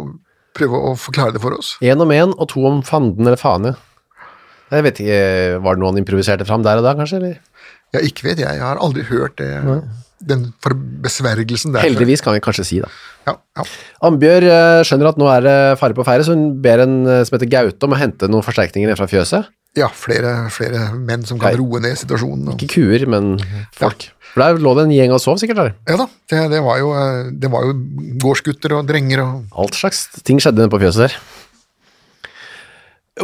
[SPEAKER 7] prøve å forklare det for oss.
[SPEAKER 6] En om en, og to om fanden eller fane. Jeg vet ikke, eh, var det noe han improviserte frem der og da, kanskje? Eller?
[SPEAKER 7] Ja, ikke vet jeg. Jeg har aldri hørt det, den for besvergelsen der.
[SPEAKER 6] Heldigvis kan vi kanskje si da.
[SPEAKER 7] Ja, ja.
[SPEAKER 6] Ambjørg eh, skjønner at nå er det fare på ferde, så hun ber en eh, som heter Gaute om å hente noen forsterkninger ned fra fjøset.
[SPEAKER 7] ja flere, flere menn som kan
[SPEAKER 6] Nei.
[SPEAKER 7] roe ned situasjonen. Og...
[SPEAKER 6] Ikke kuer, men folk. For der lå det en gjeng og sov sikkert der.
[SPEAKER 7] Ja da, det, det, var jo, eh, det var jo gårdsgutter og drenger og
[SPEAKER 6] Alt slags ting skjedde nede på fjøset der.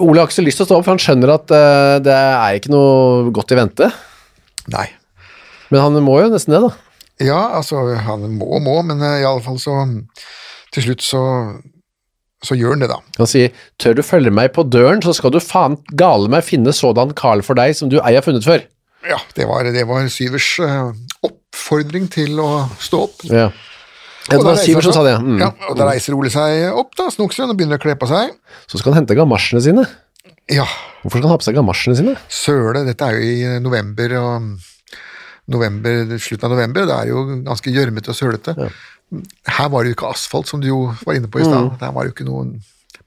[SPEAKER 6] Ole har ikke så lyst til å stå opp, for han skjønner at eh, det er ikke noe godt i vente.
[SPEAKER 7] Nei.
[SPEAKER 6] Men han må jo nesten det, da.
[SPEAKER 7] Ja, altså, han må og må, men eh, i alle fall så Til slutt så, så gjør han det, da.
[SPEAKER 6] Han sier 'Tør du følge meg på døren, så skal du faen gale meg finne sådan karl for deg som du ei har funnet før'.
[SPEAKER 7] Ja, det var, det var Syvers eh, oppfordring til å stå opp.
[SPEAKER 6] Ja. Ja,
[SPEAKER 7] Og
[SPEAKER 6] det
[SPEAKER 7] da
[SPEAKER 6] var
[SPEAKER 7] reiser
[SPEAKER 6] Syver som
[SPEAKER 7] han
[SPEAKER 6] sa det.
[SPEAKER 7] seg-
[SPEAKER 6] Mm.
[SPEAKER 7] Ja, og da reiser Ole seg opp, da, Snoksrud, og begynner å kle på seg.
[SPEAKER 6] Så skal han hente gamasjene sine.
[SPEAKER 7] Ja,
[SPEAKER 6] Hvorfor skal han ha på seg gamasjene sine?
[SPEAKER 7] søle, dette er jo i eh, november og mm, november, slutten av november, det er jo ganske gjørmete og sølete. Her var det jo ikke asfalt, som du jo var inne på i stad. Der var det jo ikke noen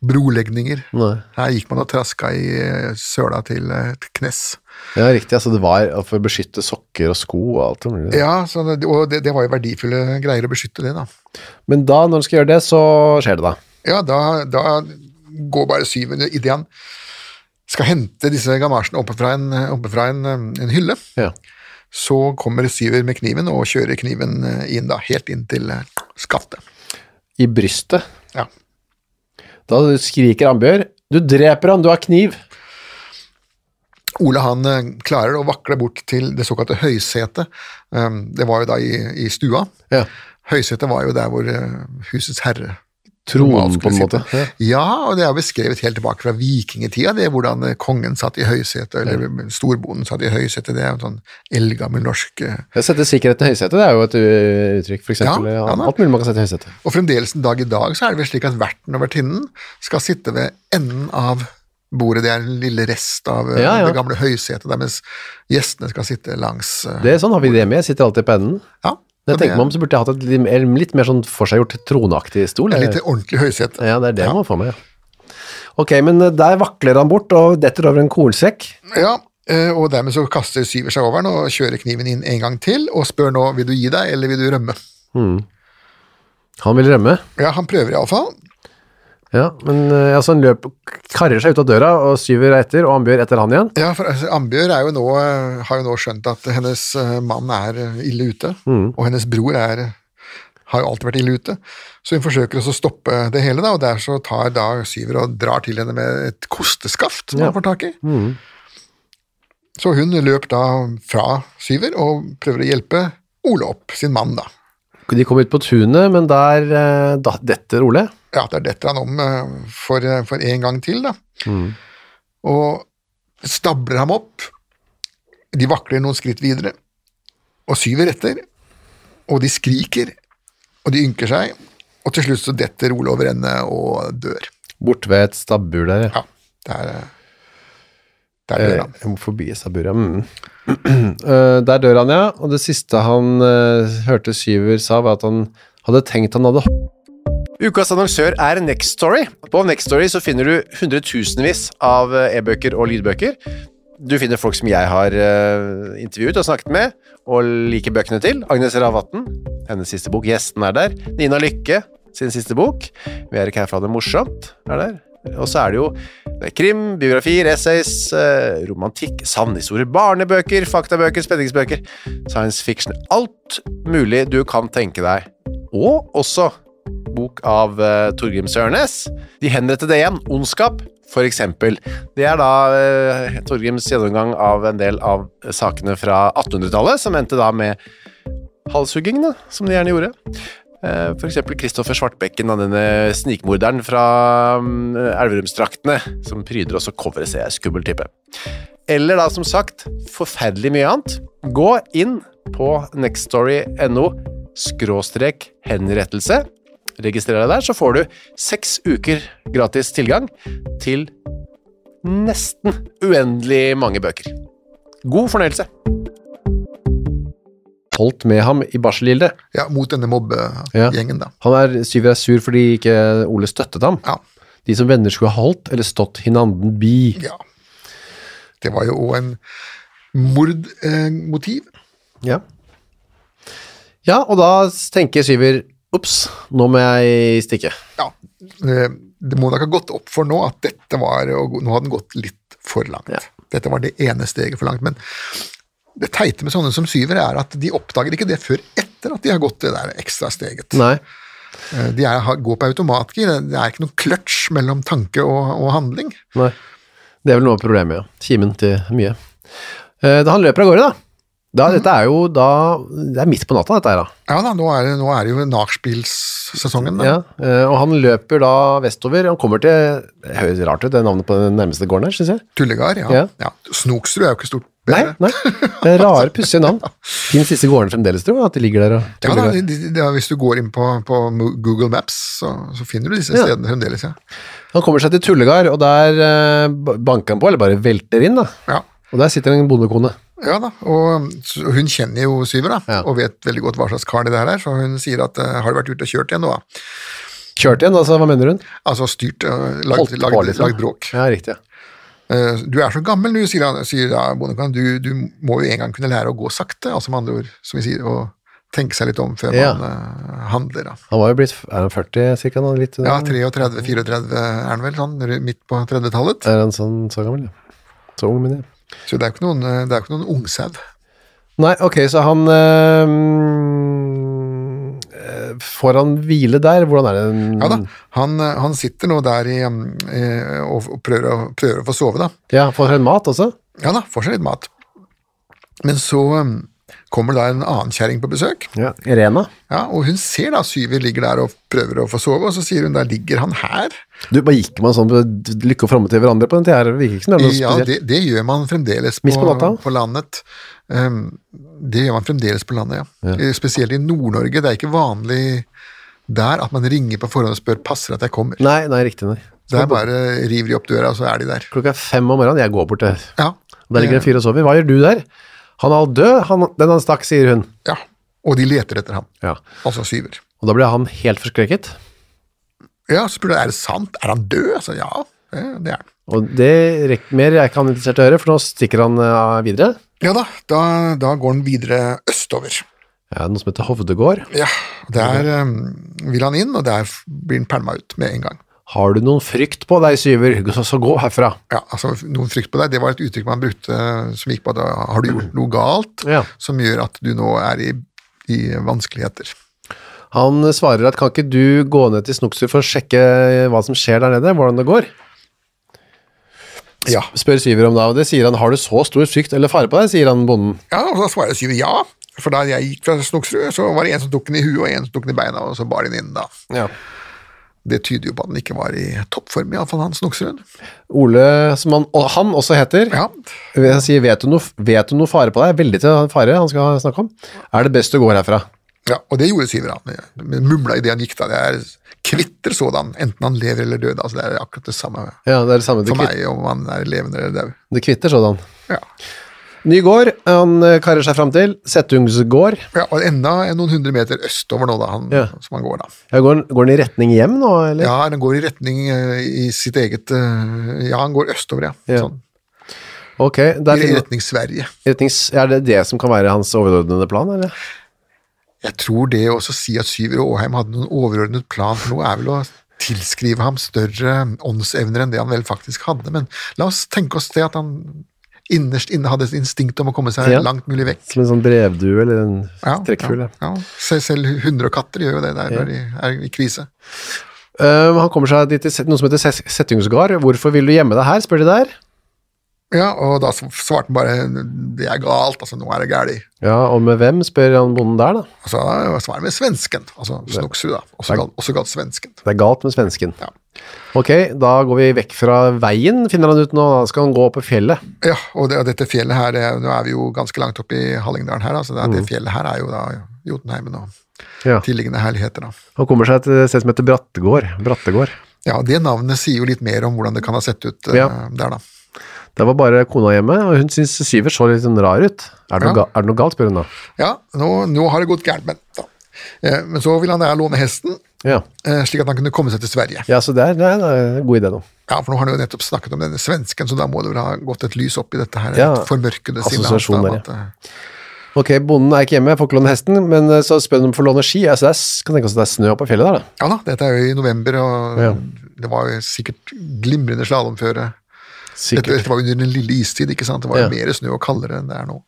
[SPEAKER 7] brolegninger.
[SPEAKER 6] Nei.
[SPEAKER 7] Her gikk man og traska i eh, søla til eh, til knes.
[SPEAKER 6] Ja, riktig. Altså, det var for å beskytte sokker og sko og alt det mulig.
[SPEAKER 7] Ja, så det, og det, det var jo verdifulle greier å beskytte det, da.
[SPEAKER 6] Men da, når han skal gjøre det, så skjer det, da.
[SPEAKER 7] Ja, da, da går bare syvende idet han skal hente disse gamasjene oppe fra en, oppe fra en, eh, en hylle,
[SPEAKER 6] Ja.
[SPEAKER 7] så kommer syver med kniven og kjører kniven eh, inn da, helt inn til eh, skaftet.
[SPEAKER 6] I brystet.
[SPEAKER 7] Ja.
[SPEAKER 6] Da skriker Ambjørg Du dreper han, du har kniv!
[SPEAKER 7] Ole han eh, klarer å vakle bort til det såkalte høysetet. Um, Det var jo da i, i stua.
[SPEAKER 6] Ja.
[SPEAKER 7] Høysetet var jo der hvor eh, husets herre
[SPEAKER 6] Tronen,
[SPEAKER 7] skulle
[SPEAKER 6] på en
[SPEAKER 7] sitte.
[SPEAKER 6] måte. Ja.
[SPEAKER 7] Ja, og det er beskrevet helt tilbake fra vikingetida, det er hvordan eh, kongen satt i høysetet, eller storbonden satt i høysetet. Det er jo en sånn eldgammel norsk eh,
[SPEAKER 6] Jeg setter sikkerheten i høysetet, det er jo et ø, uttrykk, for eksempel.
[SPEAKER 7] Ja, ja da.
[SPEAKER 6] Alt mulig man kan sette i høysetet.
[SPEAKER 7] Og fremdeles en dag i dag så er det vel slik at verten og vertinnen skal sitte ved enden av bordet, det er en lille rest av eh,
[SPEAKER 6] Ja, ja.
[SPEAKER 7] det gamle høysetet, der mens gjestene skal sitte langs eh,
[SPEAKER 6] Det er sånn har vi det med, jeg sitter alltid på enden.
[SPEAKER 7] ja,
[SPEAKER 6] Når
[SPEAKER 7] og
[SPEAKER 6] jeg tenker meg om, så burde jeg hatt et litt mer, litt mer sånn forseggjort troneaktig stol.
[SPEAKER 7] Et lite ordentlig høysete.
[SPEAKER 6] Ja, det er det man får med, ja. Ok, men ø, der vakler han bort og detter over en kornsekk.
[SPEAKER 7] Ja, eh, og dermed så kaster Syver seg over den og kjører kniven inn en gang til og spør nå vil du gi deg eller vil du rømme.
[SPEAKER 6] Han vil rømme.
[SPEAKER 7] Ja, han prøver iallfall.
[SPEAKER 6] Ja, men ø, altså, han løp, karrer seg ut av døra og syver etter, og Ambjørg etter han igjen.
[SPEAKER 7] Ja, for altså, Ambjørg er jo nå, eh, har jo nå skjønt at hennes eh, mann er eh, ille ute, og hennes bror er, har jo alltid vært ille ute. Så hun forsøker også å stoppe det hele, da, og der så tar da Syver og drar til henne med et kosteskaft som
[SPEAKER 6] Ja.
[SPEAKER 7] han får tak i.
[SPEAKER 6] Mm.
[SPEAKER 7] Så hun løp da fra Syver og prøver å hjelpe Ole opp, sin mann, da.
[SPEAKER 6] De kom ut på tunet, men der ø, da, detter Ole.
[SPEAKER 7] ja, der detter han om eh, for, eh, for en gang til, da. Og stabler ham opp. De vakler noen skritt videre, og syver etter. Og de skriker, og de ynker seg, og til slutt så detter Ole over ende og dør.
[SPEAKER 6] Bort ved et stabbur der, ja.
[SPEAKER 7] Ja, der, eh, der dør
[SPEAKER 6] Eh,
[SPEAKER 7] han.
[SPEAKER 6] Forbi stabbur, ja. Mm. Eh, der dør han, ja. Og det siste han eh, hørte Syver sa, var at han hadde tenkt han hadde Ukas annonsør er Next Story. På Next Story så finner du hundretusenvis av eh, e-bøker og lydbøker. Du finner folk som jeg har eh, intervjuet og snakket med, og liker bøkene til. Agnes Ravatn, hennes siste bok. Gjesten er der. Nina Lykke, sin siste bok. Vi er ikke her for å ha det morsomt, er der. Og så er det jo det er krim, biografier, essays, eh, romantikk, sannhistorier, barnebøker, faktabøker, spenningsbøker, science fiction. Alt mulig du kan tenke deg. Og også bok av eh, Torgrim Sørnes. De henrettede igjen, Ondskap, for eksempel. Det er da eh, Torgrims gjennomgang av en del av sakene fra 1800-tallet, som endte da med halshuggingene, som de gjerne gjorde. Eh, For eksempel Kristoffer Svartbekken, da, denne snikmorderen fra mm, Elverumsdraktene, som pryder også coveret, ser jeg, skummel type. Eller da, som sagt, forferdelig mye annet. Gå inn på nextstory.no skråstrek henrettelse. Registrer deg der, så får du seks uker gratis tilgang til nesten uendelig mange bøker. God fornøyelse! Holdt med ham i barselgilde.
[SPEAKER 7] Ja, mot denne mobbegjengen, da.
[SPEAKER 6] Han er, Syver er sur fordi ikke Ole støttet ham.
[SPEAKER 7] Ja.
[SPEAKER 6] De som venner skulle ha holdt eller stått hinanden bi.
[SPEAKER 7] ja. Det var jo òg en mordmotiv.
[SPEAKER 6] Ja. ja, og da tenker Syver Ops, nå må jeg stikke.
[SPEAKER 7] ja, eh, det må nok ha gått opp for nå at dette var og Nå hadde den gått litt for langt.
[SPEAKER 6] Ja.
[SPEAKER 7] Dette var det ene steget for langt. Men det teite med sånne som syver, er at de oppdager ikke det før etter at de har gått det der ekstra steget.
[SPEAKER 6] Nei.
[SPEAKER 7] Eh, De er, har- går på automatgir. Det er ikke noen kløtsj mellom tanke og, og handling.
[SPEAKER 6] Nei. Det er vel noe av problemet, ja. Kimen til mye. Eh, da han løper av gårde, da. da Dette er jo da Det er midt på natta, dette her, da.
[SPEAKER 7] Ja da, nå er det, nå er det jo nachspielsesongen. da.
[SPEAKER 6] Ja, eh, og han løper da vestover. Han kommer til Det høres rart ut, det navnet på den nærmeste gården her, syns jeg.
[SPEAKER 7] Tullegard, ja.
[SPEAKER 6] Ja.
[SPEAKER 7] ja. Snoksrud er jo ikke stort
[SPEAKER 6] Nei,
[SPEAKER 7] bedre.
[SPEAKER 6] nei. Det er rare, pussige navn. Fins disse gårdene fremdeles, tror jeg? At de ligger der og
[SPEAKER 7] Ja, da, de, de, de, hvis du går inn på, på Google Maps, så, så finner du disse
[SPEAKER 6] Ja.
[SPEAKER 7] stedene fremdeles. ja.
[SPEAKER 6] Han kommer seg til Tullegard, og der eh, ba- banker han på, eller bare velter inn, da.
[SPEAKER 7] ja.
[SPEAKER 6] Og der sitter en bondekone.
[SPEAKER 7] Ja da, og s- hun kjenner jo Syver da,
[SPEAKER 6] Ja.
[SPEAKER 7] og vet veldig godt hva slags kar det der er, så hun sier at eh, har du vært ute og kjørt igjen nå da?
[SPEAKER 6] Kjørt igjen, altså, hva mener hun?
[SPEAKER 7] Altså styrt, eh, lagd,
[SPEAKER 6] Holdt på,
[SPEAKER 7] lagd,
[SPEAKER 6] liksom.
[SPEAKER 7] lagd bråk.
[SPEAKER 6] Ja, riktig. ja.
[SPEAKER 7] Eh, Du er så gammel nå, sier, han, sier da bondekan, du, du må jo en gang kunne lære å gå sakte, altså med andre ord, som vi sier, og tenke seg litt om før
[SPEAKER 6] Ja.
[SPEAKER 7] man eh, handler da.
[SPEAKER 6] Han var jo blitt Er han 40, cirka? Nå, litt, eh,
[SPEAKER 7] Ja, 33-34 er han vel sånn, r- midt på 30-tallet.
[SPEAKER 6] Er han sånn så gammel, ja. så ung, men jeg.
[SPEAKER 7] Så det er jo ikke noen, eh, det er jo ikke noen ungsau.
[SPEAKER 6] Nei, ok, så han eh, mm, eh, Får han hvile der? Hvordan er det?
[SPEAKER 7] Ja da, han, eh, han sitter nå der i, um, eh, og og prøver, å- prøver å få sove, da.
[SPEAKER 6] Ja, Får han mat også?
[SPEAKER 7] Ja da, får seg litt mat. Men så um, kommer da en annen kjerring på besøk,
[SPEAKER 6] Ja, Irena.
[SPEAKER 7] ja, og hun ser da Syver ligger der og prøver å få sove, og så sier hun der ligger han her.
[SPEAKER 6] Du, bare Gikk man sånn på lykke og fromme til hverandre på den tida? her? Det virker ikke som det er noe
[SPEAKER 7] Ja,
[SPEAKER 6] spesielt.
[SPEAKER 7] det, det gjør man fremdeles på,
[SPEAKER 6] Midt på natta?
[SPEAKER 7] på landet. Um, det gjør man fremdeles på landet, ja. Eh, Spesielt i Nord-Norge. Det er ikke vanlig der at man ringer på forhånd og spør passer at jeg kommer.
[SPEAKER 6] Nei, nei, riktig, nei.
[SPEAKER 7] Det er bare river de opp døra, og så er de der.
[SPEAKER 6] Klokka er fem om morgenen, jeg går bort der.
[SPEAKER 7] Ja.
[SPEAKER 6] Og Der ligger en fyr og sover. Hva gjør du der? Han er all død, han, den han stakk, sier hun.
[SPEAKER 7] ja. Og de leter etter ham.
[SPEAKER 6] Ja.
[SPEAKER 7] Altså syver.
[SPEAKER 6] Og da ble han helt forskrekket.
[SPEAKER 7] Ja, så spør du er det sant, er han død? Altså, ja, det det er han.
[SPEAKER 6] Og det rekk, mer er ikke han interessert i å høre, for nå stikker han eh, videre.
[SPEAKER 7] Ja da, da, da går han videre østover.
[SPEAKER 6] Ja, noe som heter Hovdegård.
[SPEAKER 7] Ja, Der um, vil han inn, og der blir han pælma ut med en gang.
[SPEAKER 6] Har du noen frykt på deg, syver, så, så gå herfra.
[SPEAKER 7] Ja, altså Noen frykt på deg, det var et uttrykk man brukte eh, som gikk på at da har du gjort noe galt
[SPEAKER 6] Ja.
[SPEAKER 7] som gjør at du nå er i, i vanskeligheter.
[SPEAKER 6] Han svarer at kan ikke du gå ned til Snoksur for å sjekke eh, hva som skjer der nede, hvordan det går?
[SPEAKER 7] Ja,
[SPEAKER 6] Spør syver om det, og det sier han. Har du så stor frykt eller fare på deg, sier han bonden.
[SPEAKER 7] ja og da svarer Syver ja. For da jeg gikk fra Snoksrud, så var det en som tok den i huet, og en som tok den i beina, og så bar den inn, da.
[SPEAKER 6] Ja.
[SPEAKER 7] Det tyder jo på at han ikke var i toppform, iallfall han Snoksrud.
[SPEAKER 6] Ole, som han, og han også heter,
[SPEAKER 7] Ja.
[SPEAKER 6] han sier vet du, noe, vet du noe fare på deg? Veldig til fare han skal snakke om. Er det best du går herfra?
[SPEAKER 7] ja, og det gjorde Syver, han. Mumla idet han gikk, da. Det er kvitter sådan, enten han lever eller død. Altså, det er akkurat det samme
[SPEAKER 6] Ja, det er det samme. Det,
[SPEAKER 7] for
[SPEAKER 6] kvitt,
[SPEAKER 7] meg om han er levende eller død.
[SPEAKER 6] det kvitter sådan.
[SPEAKER 7] Ja.
[SPEAKER 6] Nygård, han eh, karrer seg fram til. Settungsgård.
[SPEAKER 7] ja, og enda noen hundre meter østover nå, da, han,
[SPEAKER 6] Ja.
[SPEAKER 7] som han går, da.
[SPEAKER 6] Ja, går, han- går han i retning hjem nå, eller?
[SPEAKER 7] Ja, den går i retning eh, i sitt eget eh, Ja, han går østover, ja.
[SPEAKER 6] Ja.
[SPEAKER 7] Sånn.
[SPEAKER 6] Ok,
[SPEAKER 7] I
[SPEAKER 6] der, finner-
[SPEAKER 7] retning Sverige.
[SPEAKER 6] retnings, er det det som kan være hans overordnede plan, eller?
[SPEAKER 7] Jeg tror det å også si at Syver og Åheim hadde noen overordnet plan for noe, er vel å tilskrive ham større åndsevner enn det han vel faktisk hadde. Men la oss tenke oss det at han innerst inne hadde et instinkt om å komme seg
[SPEAKER 6] Ja.
[SPEAKER 7] langt mulig vekk.
[SPEAKER 6] Som en sånn brevdue eller en
[SPEAKER 7] Ja,
[SPEAKER 6] trekkfugl.
[SPEAKER 7] ja,
[SPEAKER 6] ja.
[SPEAKER 7] ja. Se- Selv hunder og katter gjør jo det der når de er i krise.
[SPEAKER 6] Um, han kommer seg dit til set- noe som heter Ses- Settingsgard. Hvorfor vil du gjemme deg her, spør de der.
[SPEAKER 7] Ja, og da svarte han bare 'det er galt', altså nå er det gæli.
[SPEAKER 6] Ja, og med hvem, spør han bonden der, da.
[SPEAKER 7] Og så svarer han med svensken, altså Snoksrud, da. Også kalt- også kalt svensken.
[SPEAKER 6] Det er galt med svensken.
[SPEAKER 7] Ja.
[SPEAKER 6] Ok, da går vi vekk fra veien, finner han ut nå. Da skal han gå opp i fjellet.
[SPEAKER 7] Ja, og, det, og dette fjellet her, det, nå er vi jo ganske langt oppe i Hallingdalen her, altså det, det fjellet her er jo da Jotunheimen og
[SPEAKER 6] Mm. Ja.
[SPEAKER 7] tilliggende herligheter da.
[SPEAKER 6] Han kommer seg til et sted som heter Brattegård. Brattegård.
[SPEAKER 7] Ja, det navnet sier jo litt mer om hvordan det kan ha sett ut eh,
[SPEAKER 6] Ja.
[SPEAKER 7] der da.
[SPEAKER 6] Der var bare kona hjemme, og hun syns Syver så litt sånn rar ut. Er det, noe,
[SPEAKER 7] Ja.
[SPEAKER 6] ga- er det noe galt, spør hun da.
[SPEAKER 7] Ja, nå, nå har det gått gærent med den, da. Eh, Men så vil han der låne hesten,
[SPEAKER 6] Ja,
[SPEAKER 7] eh, slik at han kunne komme seg til Sverige.
[SPEAKER 6] ja så det er, det er en eh, god idé nå.
[SPEAKER 7] Ja, for nå har han jo nettopp snakket om denne svensken, så da må det vel ha gått et lys opp i dette her,
[SPEAKER 6] Ja,
[SPEAKER 7] et formørkede sinnet hans,
[SPEAKER 6] assosiasjon
[SPEAKER 7] da,
[SPEAKER 6] der,
[SPEAKER 7] at, eh,
[SPEAKER 6] Ok, bonden er ikke hjemme, jeg får ikke låne hesten, men eh, så spør hun om å få låne ski. Ja, så det er, s- kan tenke oss at det er snø oppe i fjellet der, da.
[SPEAKER 7] Ja da, dette er jo i november, og
[SPEAKER 6] Ja.
[SPEAKER 7] det var jo sikkert glimrende slalomføre. Dette,
[SPEAKER 6] Sikkert.
[SPEAKER 7] dette var jo under den lille istid, ikke sant? Det var
[SPEAKER 6] Ja.
[SPEAKER 7] jo mer snø og kaldere enn det er nå.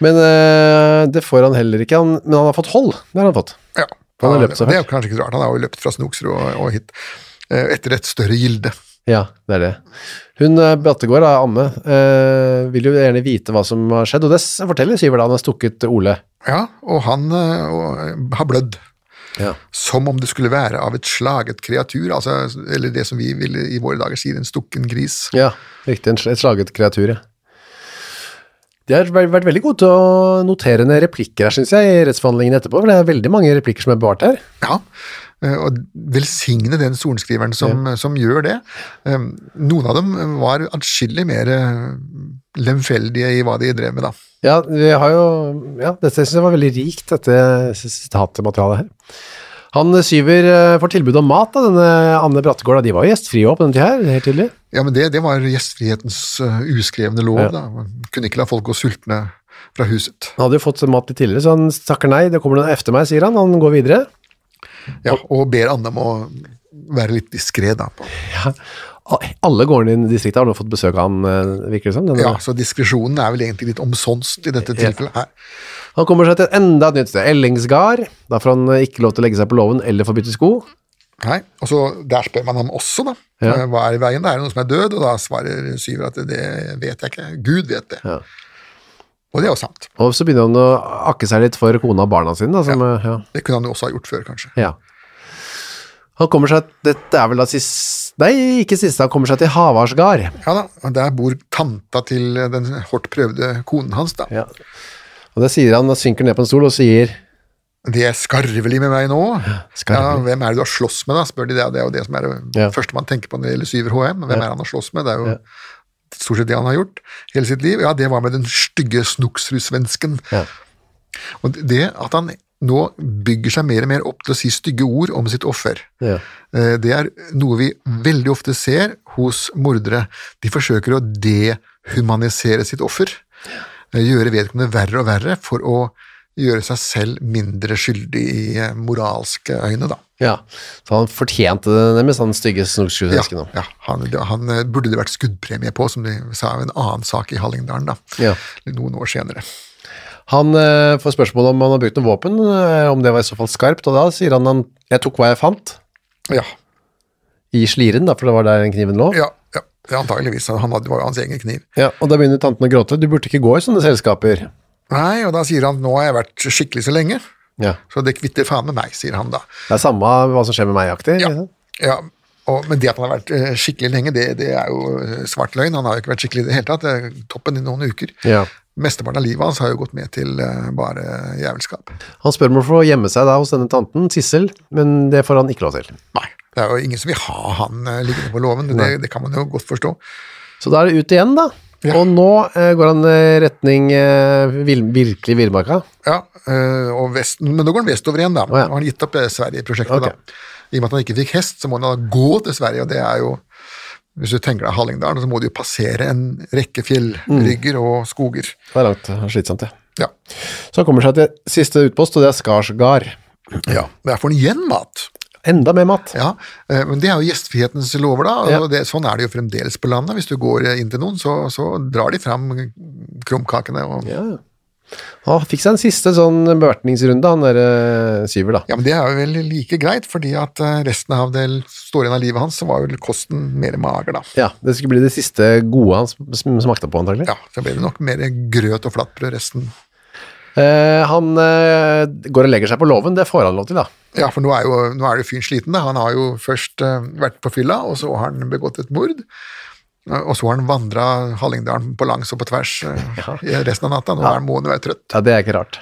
[SPEAKER 6] Men eh, det får han heller ikke, han, men han har fått hold. Det har han fått.
[SPEAKER 7] Ja,
[SPEAKER 6] Han har løpt seg
[SPEAKER 7] Det er jo kanskje ikke så rart, han har jo løpt fra Snoksrud og, og hit. eh, Etter et større gilde.
[SPEAKER 6] Ja, det er det. Hun eh, Brattegård, da, Anne, eh, vil jo gjerne vite hva som har skjedd, og det s- forteller Syver da han har stukket Ole.
[SPEAKER 7] Ja, og han eh, og, har blødd.
[SPEAKER 6] Ja.
[SPEAKER 7] Som om det skulle være av et slaget kreatur, altså, eller det som vi ville i våre dager sier, en stukken gris.
[SPEAKER 6] riktig. en sl- Et slaget kreatur, ja. De har vært vært veldig gode til å notere ned replikker her, syns jeg, i rettsforhandlingen etterpå, for det er veldig mange replikker som er bevart her.
[SPEAKER 7] Ja, eh, og velsigne den sorenskriveren som, som gjør det. Eh, Noen av dem var atskillig mer eh, lemfeldige i hva de drev med, da.
[SPEAKER 6] Ja, vi har jo Ja, dette syns jeg var veldig rikt, dette sitatmaterialet her. Han eh, Syver eh, får tilbud om mat av denne Anne Brattegård, da. de var jo gjestfrie også på den tida her, helt tydelig.
[SPEAKER 7] Ja, men det, det var gjestfrihetens eh, uskrevne lov,
[SPEAKER 6] Ja.
[SPEAKER 7] da. Man kunne ikke la folk gå sultne fra huset.
[SPEAKER 6] Han hadde jo fått mat litt tidligere, så han takker nei. Det kommer noen efter meg, sier han. Han går videre.
[SPEAKER 7] Ja, og ber Anne om å være litt diskré, da. på-
[SPEAKER 6] Ah, Alle gårdene i distriktet har nå fått besøk av han, eh, virker det som. denne-
[SPEAKER 7] Ja, så diskresjonen er vel egentlig litt omsonst i dette
[SPEAKER 6] Ja.
[SPEAKER 7] tilfellet her.
[SPEAKER 6] Han kommer seg til enda et nytt sted, Ellingsgard. Da får han eh, ikke lov til å legge seg på låven eller få bytte sko.
[SPEAKER 7] Nei, og så Der spør man ham også, da.
[SPEAKER 6] Ja.
[SPEAKER 7] Eh, Hva er i veien? Det er det noen som er død? Og da svarer Syver at det vet jeg ikke. Gud vet det.
[SPEAKER 6] Ja.
[SPEAKER 7] Og det er jo sant.
[SPEAKER 6] Og så begynner han å akke seg litt for kona og barna sine. Da, som, eh, ja.
[SPEAKER 7] Det kunne han jo også ha gjort før, kanskje.
[SPEAKER 6] Ja. Han kommer seg, dette er vel da sist, nei, ikke siste, han kommer seg til Havarsgard.
[SPEAKER 7] Ja da, og Der bor tanta til den hardt prøvde konen hans, da.
[SPEAKER 6] Ja. Og det sier han, han synker ned på en stol og sier,
[SPEAKER 7] Det er skarvelig med meg nå. Ja,
[SPEAKER 6] skarvelig.
[SPEAKER 7] hvem er det du har slåss med, da? spør de det. og Det er jo det som er det
[SPEAKER 6] Ja.
[SPEAKER 7] første man tenker på når det gjelder Syver HM. Hvem er han har slåss med? Det er jo stort sett det han har gjort hele sitt liv. Ja, det var med den stygge snoksrud-svensken.
[SPEAKER 6] Ja.
[SPEAKER 7] Og det at han nå bygger seg mer og mer opp til å si stygge ord om sitt offer,
[SPEAKER 6] Ja.
[SPEAKER 7] eh, det er noe vi veldig ofte ser hos mordere. De forsøker å dehumanisere sitt offer. Eh, Gjøre vedkommende verre og verre for å gjøre seg selv mindre skyldig i eh, moralske øyne, da.
[SPEAKER 6] Ja. Så han fortjente det nemlig, han stygge
[SPEAKER 7] Ja,
[SPEAKER 6] snokskuesvensken. nå.
[SPEAKER 7] ja han, det- han eh, burde det vært skuddpremie på, som de sa i en annen sak i Hallingdalen, da.
[SPEAKER 6] Ja.
[SPEAKER 7] Noen år senere.
[SPEAKER 6] Han eh, får spørsmål om han har brukt noen våpen, eh, om det var i så fall skarpt, og da sier han, han jeg tok hva jeg fant,
[SPEAKER 7] Ja,
[SPEAKER 6] i sliren da, for det var der den kniven lå.
[SPEAKER 7] ja, ja. ja antageligvis. Han hadde, det var jo hans egen kniv.
[SPEAKER 6] Ja, og da begynner tanten å gråte, du burde ikke gå i sånne selskaper.
[SPEAKER 7] Nei, og da sier han nå har jeg vært skikkelig så lenge,
[SPEAKER 6] Ja.
[SPEAKER 7] så det kvitter faen med meg, sier han da.
[SPEAKER 6] Det er samme hva som skjer med meg-aktig.
[SPEAKER 7] Ja,
[SPEAKER 6] liksom.
[SPEAKER 7] ja. Og, men det at han har vært eh, skikkelig lenge, det, det er jo eh, svart løgn. Han har jo ikke vært skikkelig i det hele tatt. Det er toppen i noen uker.
[SPEAKER 6] Ja.
[SPEAKER 7] Mesteparten av livet hans har jo gått med til eh, bare jævelskap.
[SPEAKER 6] Han spør om å få gjemme seg da hos denne tanten, Sissel, men det får han ikke lov til.
[SPEAKER 7] Nei. Det er jo ingen som vil ha han eh, liggende på låven, det, det kan man jo godt forstå.
[SPEAKER 6] Så da er det ut igjen, da.
[SPEAKER 7] Ja.
[SPEAKER 6] Og nå eh, går han eh, retning eh, vil, virkelig villmarka.
[SPEAKER 7] Ja, eh, og vest, Men nå går han vestover igjen, da.
[SPEAKER 6] ja.
[SPEAKER 7] Og han har gitt opp eh, Sverige-prosjektet,
[SPEAKER 6] Ok.
[SPEAKER 7] da. I og med at han ikke fikk hest, så må han da gå til Sverige, og det er jo Hvis du tenker deg Hallingdalen, så må du jo passere en rekke
[SPEAKER 6] Mm.
[SPEAKER 7] fjellrygger og skoger.
[SPEAKER 6] Det er langt og slitsomt, det.
[SPEAKER 7] Ja.
[SPEAKER 6] Så han kommer seg til siste utpost, og det er Skarsgard.
[SPEAKER 7] ja. Der får han igjen mat.
[SPEAKER 6] Enda mer mat.
[SPEAKER 7] Ja, eh, men det er jo gjestfrihetens lover, da. og
[SPEAKER 6] Ja.
[SPEAKER 7] Det, sånn er det jo fremdeles på landet. Hvis du går eh, inn til noen, så, så drar de fram krumkakene. Og, ja.
[SPEAKER 6] Ja. Han fikk seg en siste sånn bevertningsrunde, han derre Syver, da.
[SPEAKER 7] men det er jo vel like greit, fordi at eh, resten av det står igjen av livet hans, så var vel kosten mer mager, da.
[SPEAKER 6] Ja, Det skulle bli det siste gode han sm- sm- smakte på, antagelig.
[SPEAKER 7] Ja, så ble det nok mer grøt og flatbrød resten.
[SPEAKER 6] Eh, han eh, går og legger seg på låven, det får han lov til, da.
[SPEAKER 7] Ja, for nå er jo, nå er jo fyren sliten. Da. Han har jo først eh, vært på fylla, og så har han begått et mord. Eh, Og så har han vandra Hallingdalen på langs og på tvers eh, i resten av natta. Nå er- må han jo være trøtt.
[SPEAKER 6] Ja, Det er ikke rart.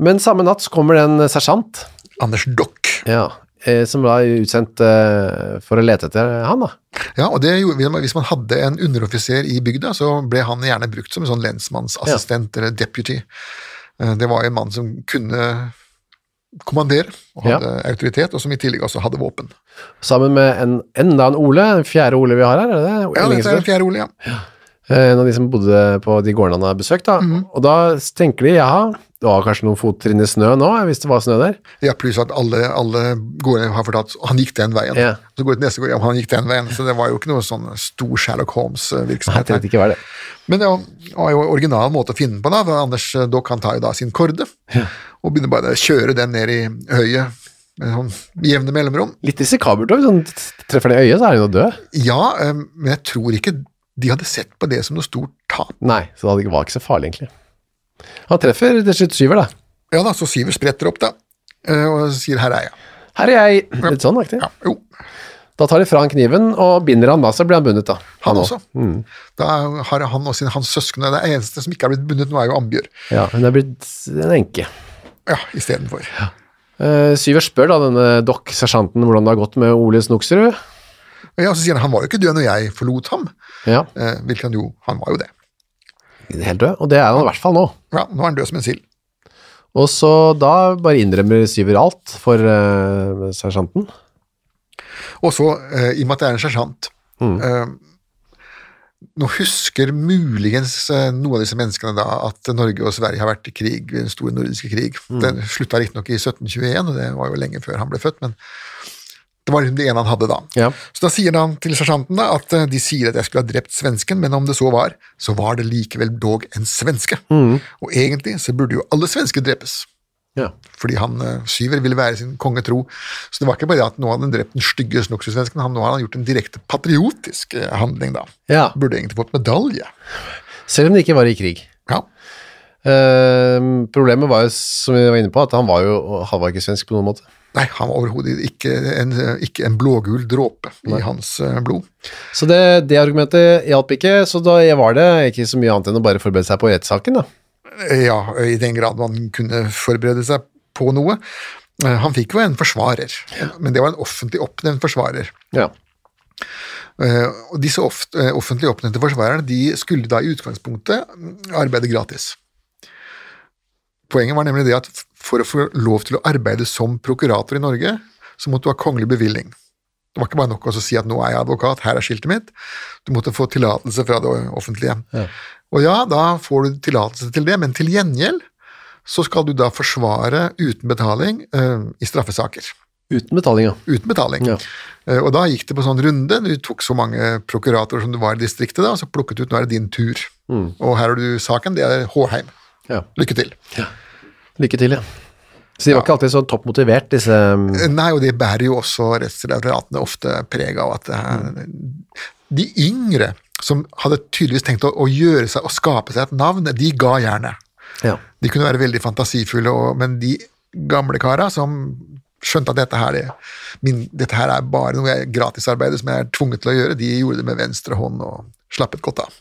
[SPEAKER 6] Men samme natt så kommer det en eh, sersjant,
[SPEAKER 7] Anders Dock.
[SPEAKER 6] ja, eh, som da er utsendt eh, for å lete etter han, da.
[SPEAKER 7] Ja, og det gjorde vi, Hvis man hadde en underoffiser i bygda, så ble han gjerne brukt som en sånn lensmannsassistent eller deputy. Eh, Det var jo en mann som kunne kommandere og
[SPEAKER 6] Ja.
[SPEAKER 7] hadde autoritet, og som i tillegg også hadde våpen.
[SPEAKER 6] Sammen med en, enda en Ole, den fjerde Ole vi har her, er det det?
[SPEAKER 7] Ja, dette er
[SPEAKER 6] Ellingsrud?
[SPEAKER 7] den fjerde olje, ja.
[SPEAKER 6] Eh, En av de som bodde på de gårdene han har besøkt, da.
[SPEAKER 7] Mhm.
[SPEAKER 6] Og da tenker de, jaha, det var kanskje noen fottrinn i snø nå, hvis det var snø der.
[SPEAKER 7] Ja, pluss at alle, alle gårdene har fortalt at han gikk den veien.
[SPEAKER 6] Ja.
[SPEAKER 7] Så går det til neste gård, ja, men han gikk den veien. Så det var jo ikke noe sånn stor Sherlock eh,
[SPEAKER 6] Nei,
[SPEAKER 7] Holmes-virksomhet.
[SPEAKER 6] jeg vet ikke hva det er.
[SPEAKER 7] Men det var jo en original måte å finne på, da. For Anders eh, Dock han tar jo da sin korde og begynner bare å kjøre den ned i høyet med sånn jevne mellomrom.
[SPEAKER 6] Litt risikabelt, og hvis han t- treffer det i øyet, så er han jo død.
[SPEAKER 7] Ja, eh, men jeg tror ikke de hadde sett på det som noe stort tap.
[SPEAKER 6] Nei, så det var ikke så farlig, egentlig. Han treffer til slutt syver, da.
[SPEAKER 7] Ja da, så Syver spretter opp, da. eh, Og sier 'her er jeg'.
[SPEAKER 6] Her er jeg, litt sånn aktig.
[SPEAKER 7] Ja, jo,
[SPEAKER 6] Da tar de fra han kniven, og binder han, da, så blir han bundet, da.
[SPEAKER 7] han
[SPEAKER 6] også.
[SPEAKER 7] også. Da har han og sin, hans søskne Det eneste som ikke er blitt bundet nå, er jo Ambjørg.
[SPEAKER 6] Ja, hun er blitt en enke.
[SPEAKER 7] Ja, istedenfor.
[SPEAKER 6] Eh, Syver spør da denne dokk-sersjanten hvordan det har gått med Ole Snoksrud.
[SPEAKER 7] Ja, så sier han han var jo ikke død når jeg forlot ham.
[SPEAKER 6] Ja,
[SPEAKER 7] Eh, hvilket han jo Han var jo det.
[SPEAKER 6] helt død, og det er han i hvert fall nå.
[SPEAKER 7] Ja, nå er han død som en sild.
[SPEAKER 6] Og så da bare innrømmer Syver alt for eh, sersjanten.
[SPEAKER 7] Og så, eh, i og med at det er en sersjant eh, Nå husker muligens eh, noen av disse menneskene da at Norge og Sverige har vært i krig, i den store nordiske krig. Den slutta riktignok i 1721, og det var jo lenge før han ble født, men Det var liksom det ene han hadde da.
[SPEAKER 6] Ja.
[SPEAKER 7] Så da sier han til sersjanten da, at eh, de sier at jeg skulle ha drept svensken, men om det så var, så var det likevel dog en svenske. Og egentlig så burde jo alle svensker drepes.
[SPEAKER 6] Ja.
[SPEAKER 7] Fordi han eh, Syver ville være sin konge tro. Så det var ikke bare det at nå hadde han drept den stygge snoksusvensken, han, nå har han gjort en direkte patriotisk eh, handling, da.
[SPEAKER 6] Ja.
[SPEAKER 7] Burde egentlig fått medalje.
[SPEAKER 6] Selv om de ikke var i krig.
[SPEAKER 7] Ja.
[SPEAKER 6] Eh, problemet var jo, som vi var inne på, at han var jo han var ikke svensk på noen måte.
[SPEAKER 7] Nei, han var overhodet ikke en, eh, ikke en blågul dråpe i hans eh, blod.
[SPEAKER 6] Så det, det argumentet hjalp ikke, så da var det ikke så mye annet enn å bare forberede seg på rettssaken, da.
[SPEAKER 7] Eh, Ja, i den grad man kunne forberede seg på noe. Eh, Han fikk jo en forsvarer, men det var en offentlig oppnevnt forsvarer.
[SPEAKER 6] Ja.
[SPEAKER 7] Eh, Og disse off- eh, offentlig oppnevnte forsvarerne de skulle da i utgangspunktet mm, arbeide gratis. Poenget var nemlig det at f- for å få lov til å arbeide som prokurator i Norge, så måtte du ha kongelig bevilling. Det var ikke bare nok å si at nå er jeg advokat, her er skiltet mitt. Du måtte få tillatelse fra det offentlige. Og ja, da får du tillatelse til det, men til gjengjeld så skal du da forsvare uten betaling eh, i straffesaker
[SPEAKER 6] Uten betaling, ja.
[SPEAKER 7] uten betaling.
[SPEAKER 6] Ja.
[SPEAKER 7] Eh, Og da gikk det på sånn runde, du tok så mange prokuratorer som du var i distriktet, da, og så plukket du ut nå er det din tur. Og her har du saken, det er Håheim.
[SPEAKER 6] ja.
[SPEAKER 7] Lykke til.
[SPEAKER 6] Lykke til, ja. Så de var ikke alltid så topp motivert, disse ehm,
[SPEAKER 7] Eh, Nei, og det bærer jo også rettsreferatene ofte preg av at det er De yngre som hadde tydeligvis tenkt å, å gjøre seg og skape seg et navn, de ga jernet.
[SPEAKER 6] Ja.
[SPEAKER 7] De kunne være veldig fantasifulle, og, men de gamle kara som skjønte at dette her, er, min, dette her er bare noe jeg gratisarbeidet som jeg er tvunget til å gjøre, de gjorde det med venstre hånd og slappet godt av.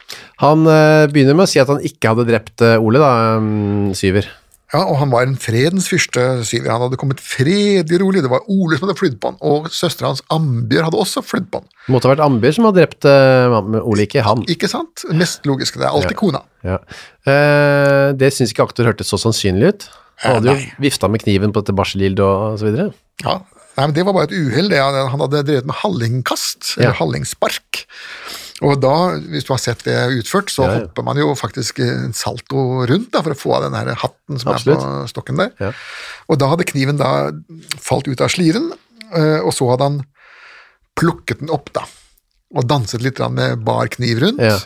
[SPEAKER 6] Han eh, begynner med å si at han ikke hadde drept eh, Ole, da, mm, Syver.
[SPEAKER 7] Ja, og han var en fredens fyrste, sier vi. Han hadde kommet fredelig rolig. Det var Ole som hadde flydd på han, og søstera hans Ambjørg hadde også flydd på han.
[SPEAKER 6] Det måtte ha vært Ambjørg som hadde drept eh, mannen med Ole, ikke han.
[SPEAKER 7] Ikke sant? Det Mest logiske. Det er alltid kona.
[SPEAKER 6] Ja. Eh, det syns ikke aktor hørtes så sannsynlig ut. Han hadde jo vifta med kniven på dette barselgildet og så videre.
[SPEAKER 7] Ja. Nei, men Det var bare et uhell. det. Han han hadde drevet med hallingkast,
[SPEAKER 6] Ja.
[SPEAKER 7] eller hallingspark. Og da, hvis du har sett det utført, så
[SPEAKER 6] Ja, ja.
[SPEAKER 7] hopper man jo faktisk en salto rundt da, for å få av den her hatten som er
[SPEAKER 6] Absolutt.
[SPEAKER 7] på stokken der.
[SPEAKER 6] Ja.
[SPEAKER 7] Og da hadde kniven da falt ut av sliren, eh, og så hadde han plukket den opp, da. Og danset litt grann med bar kniv rundt.
[SPEAKER 6] Ja.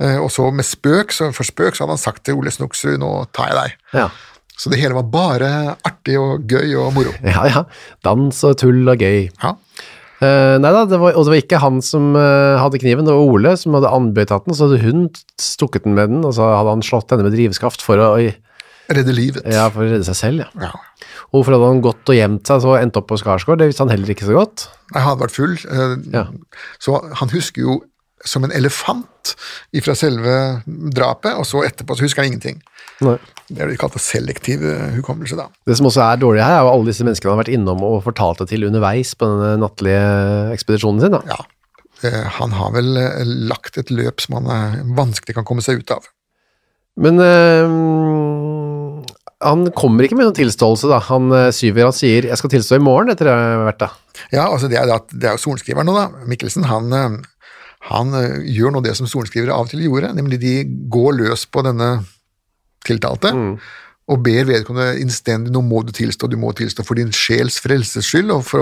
[SPEAKER 7] Eh, Og så med spøk, så for spøk så hadde han sagt til Ole Snoksrud 'nå tar jeg deg'.
[SPEAKER 6] Ja.
[SPEAKER 7] Så det hele var bare artig og gøy og moro.
[SPEAKER 6] ja, ja. Dans og tull og gøy.
[SPEAKER 7] Ja.
[SPEAKER 6] Eh, nei da, det var, og det var ikke han som eh, hadde kniven, det var Ole som hadde anbøytatt den, og så hadde hun stukket den med den, og så hadde han slått henne med drivskaft for å, oi,
[SPEAKER 7] Redde livet.
[SPEAKER 6] ja, for å redde seg selv. Ja.
[SPEAKER 7] Ja.
[SPEAKER 6] Og Hvorfor hadde han gått og gjemt seg så endt opp på Skarsgård? Det visste han heller ikke så godt.
[SPEAKER 7] Nei, Han hadde vært full, eh,
[SPEAKER 6] Ja.
[SPEAKER 7] så han husker jo som en elefant fra selve drapet, og så etterpå så husker han ingenting. Det er det de kalte selektiv eh, hukommelse, da.
[SPEAKER 6] Det som også er dårlig her, er jo alle disse menneskene han har vært innom og fortalt det til underveis på denne nattlige ekspedisjonen sin. Da.
[SPEAKER 7] Ja. Eh, Han har vel eh, lagt et løp som han eh, vanskelig kan komme seg ut av.
[SPEAKER 6] Men eh, han kommer ikke med noen tilståelse, da. Han eh, syver, han sier 'jeg skal tilstå i morgen' etter det jeg har vært da.
[SPEAKER 7] Ja, altså det er, det at- det er jo sorenskriveren nå, da. Mikkelsen, han, eh, han eh, gjør nå det som sorenskrivere av og til gjorde, nemlig de går løs på denne tiltalte og ber vedkommende innstendig nå må du tilstå, du må tilstå for din sjels frelses skyld, og for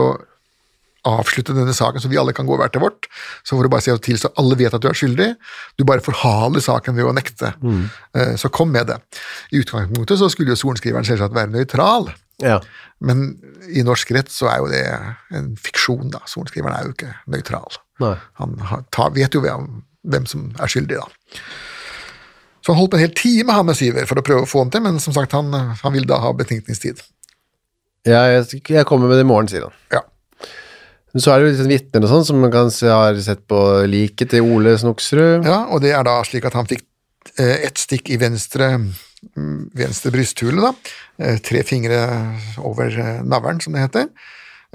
[SPEAKER 7] å avslutte denne saken, så vi alle kan gå hver til vårt. Så får du bare si og tilstå, alle vet at du er skyldig, du bare forhaler saken ved å nekte. Eh, Så kom med det. I utgangspunktet så skulle jo sorenskriveren selvsagt være nøytral.
[SPEAKER 6] Ja.
[SPEAKER 7] Men i norsk rett så er jo det en fiksjon, da. Sorenskriveren er jo ikke nøytral.
[SPEAKER 6] Nei.
[SPEAKER 7] Han har, tar, vet jo hvem, hvem som er skyldig, da. Så han holdt på en hel time han med Syver for å prøve å få han til, men som sagt, han, han ville da ha betenkningstid.
[SPEAKER 6] Jeg, jeg kommer med det i morgen, sier han.
[SPEAKER 7] Ja.
[SPEAKER 6] Men så er det jo liksom vitner og sånn, som man kan se, har sett på liket til Ole Snoksrud.
[SPEAKER 7] ja, og det er da slik at han fikk eh, ett stikk i venstre, mm, venstre brysthule, da. Eh, Tre fingre over eh, navlen, som det heter.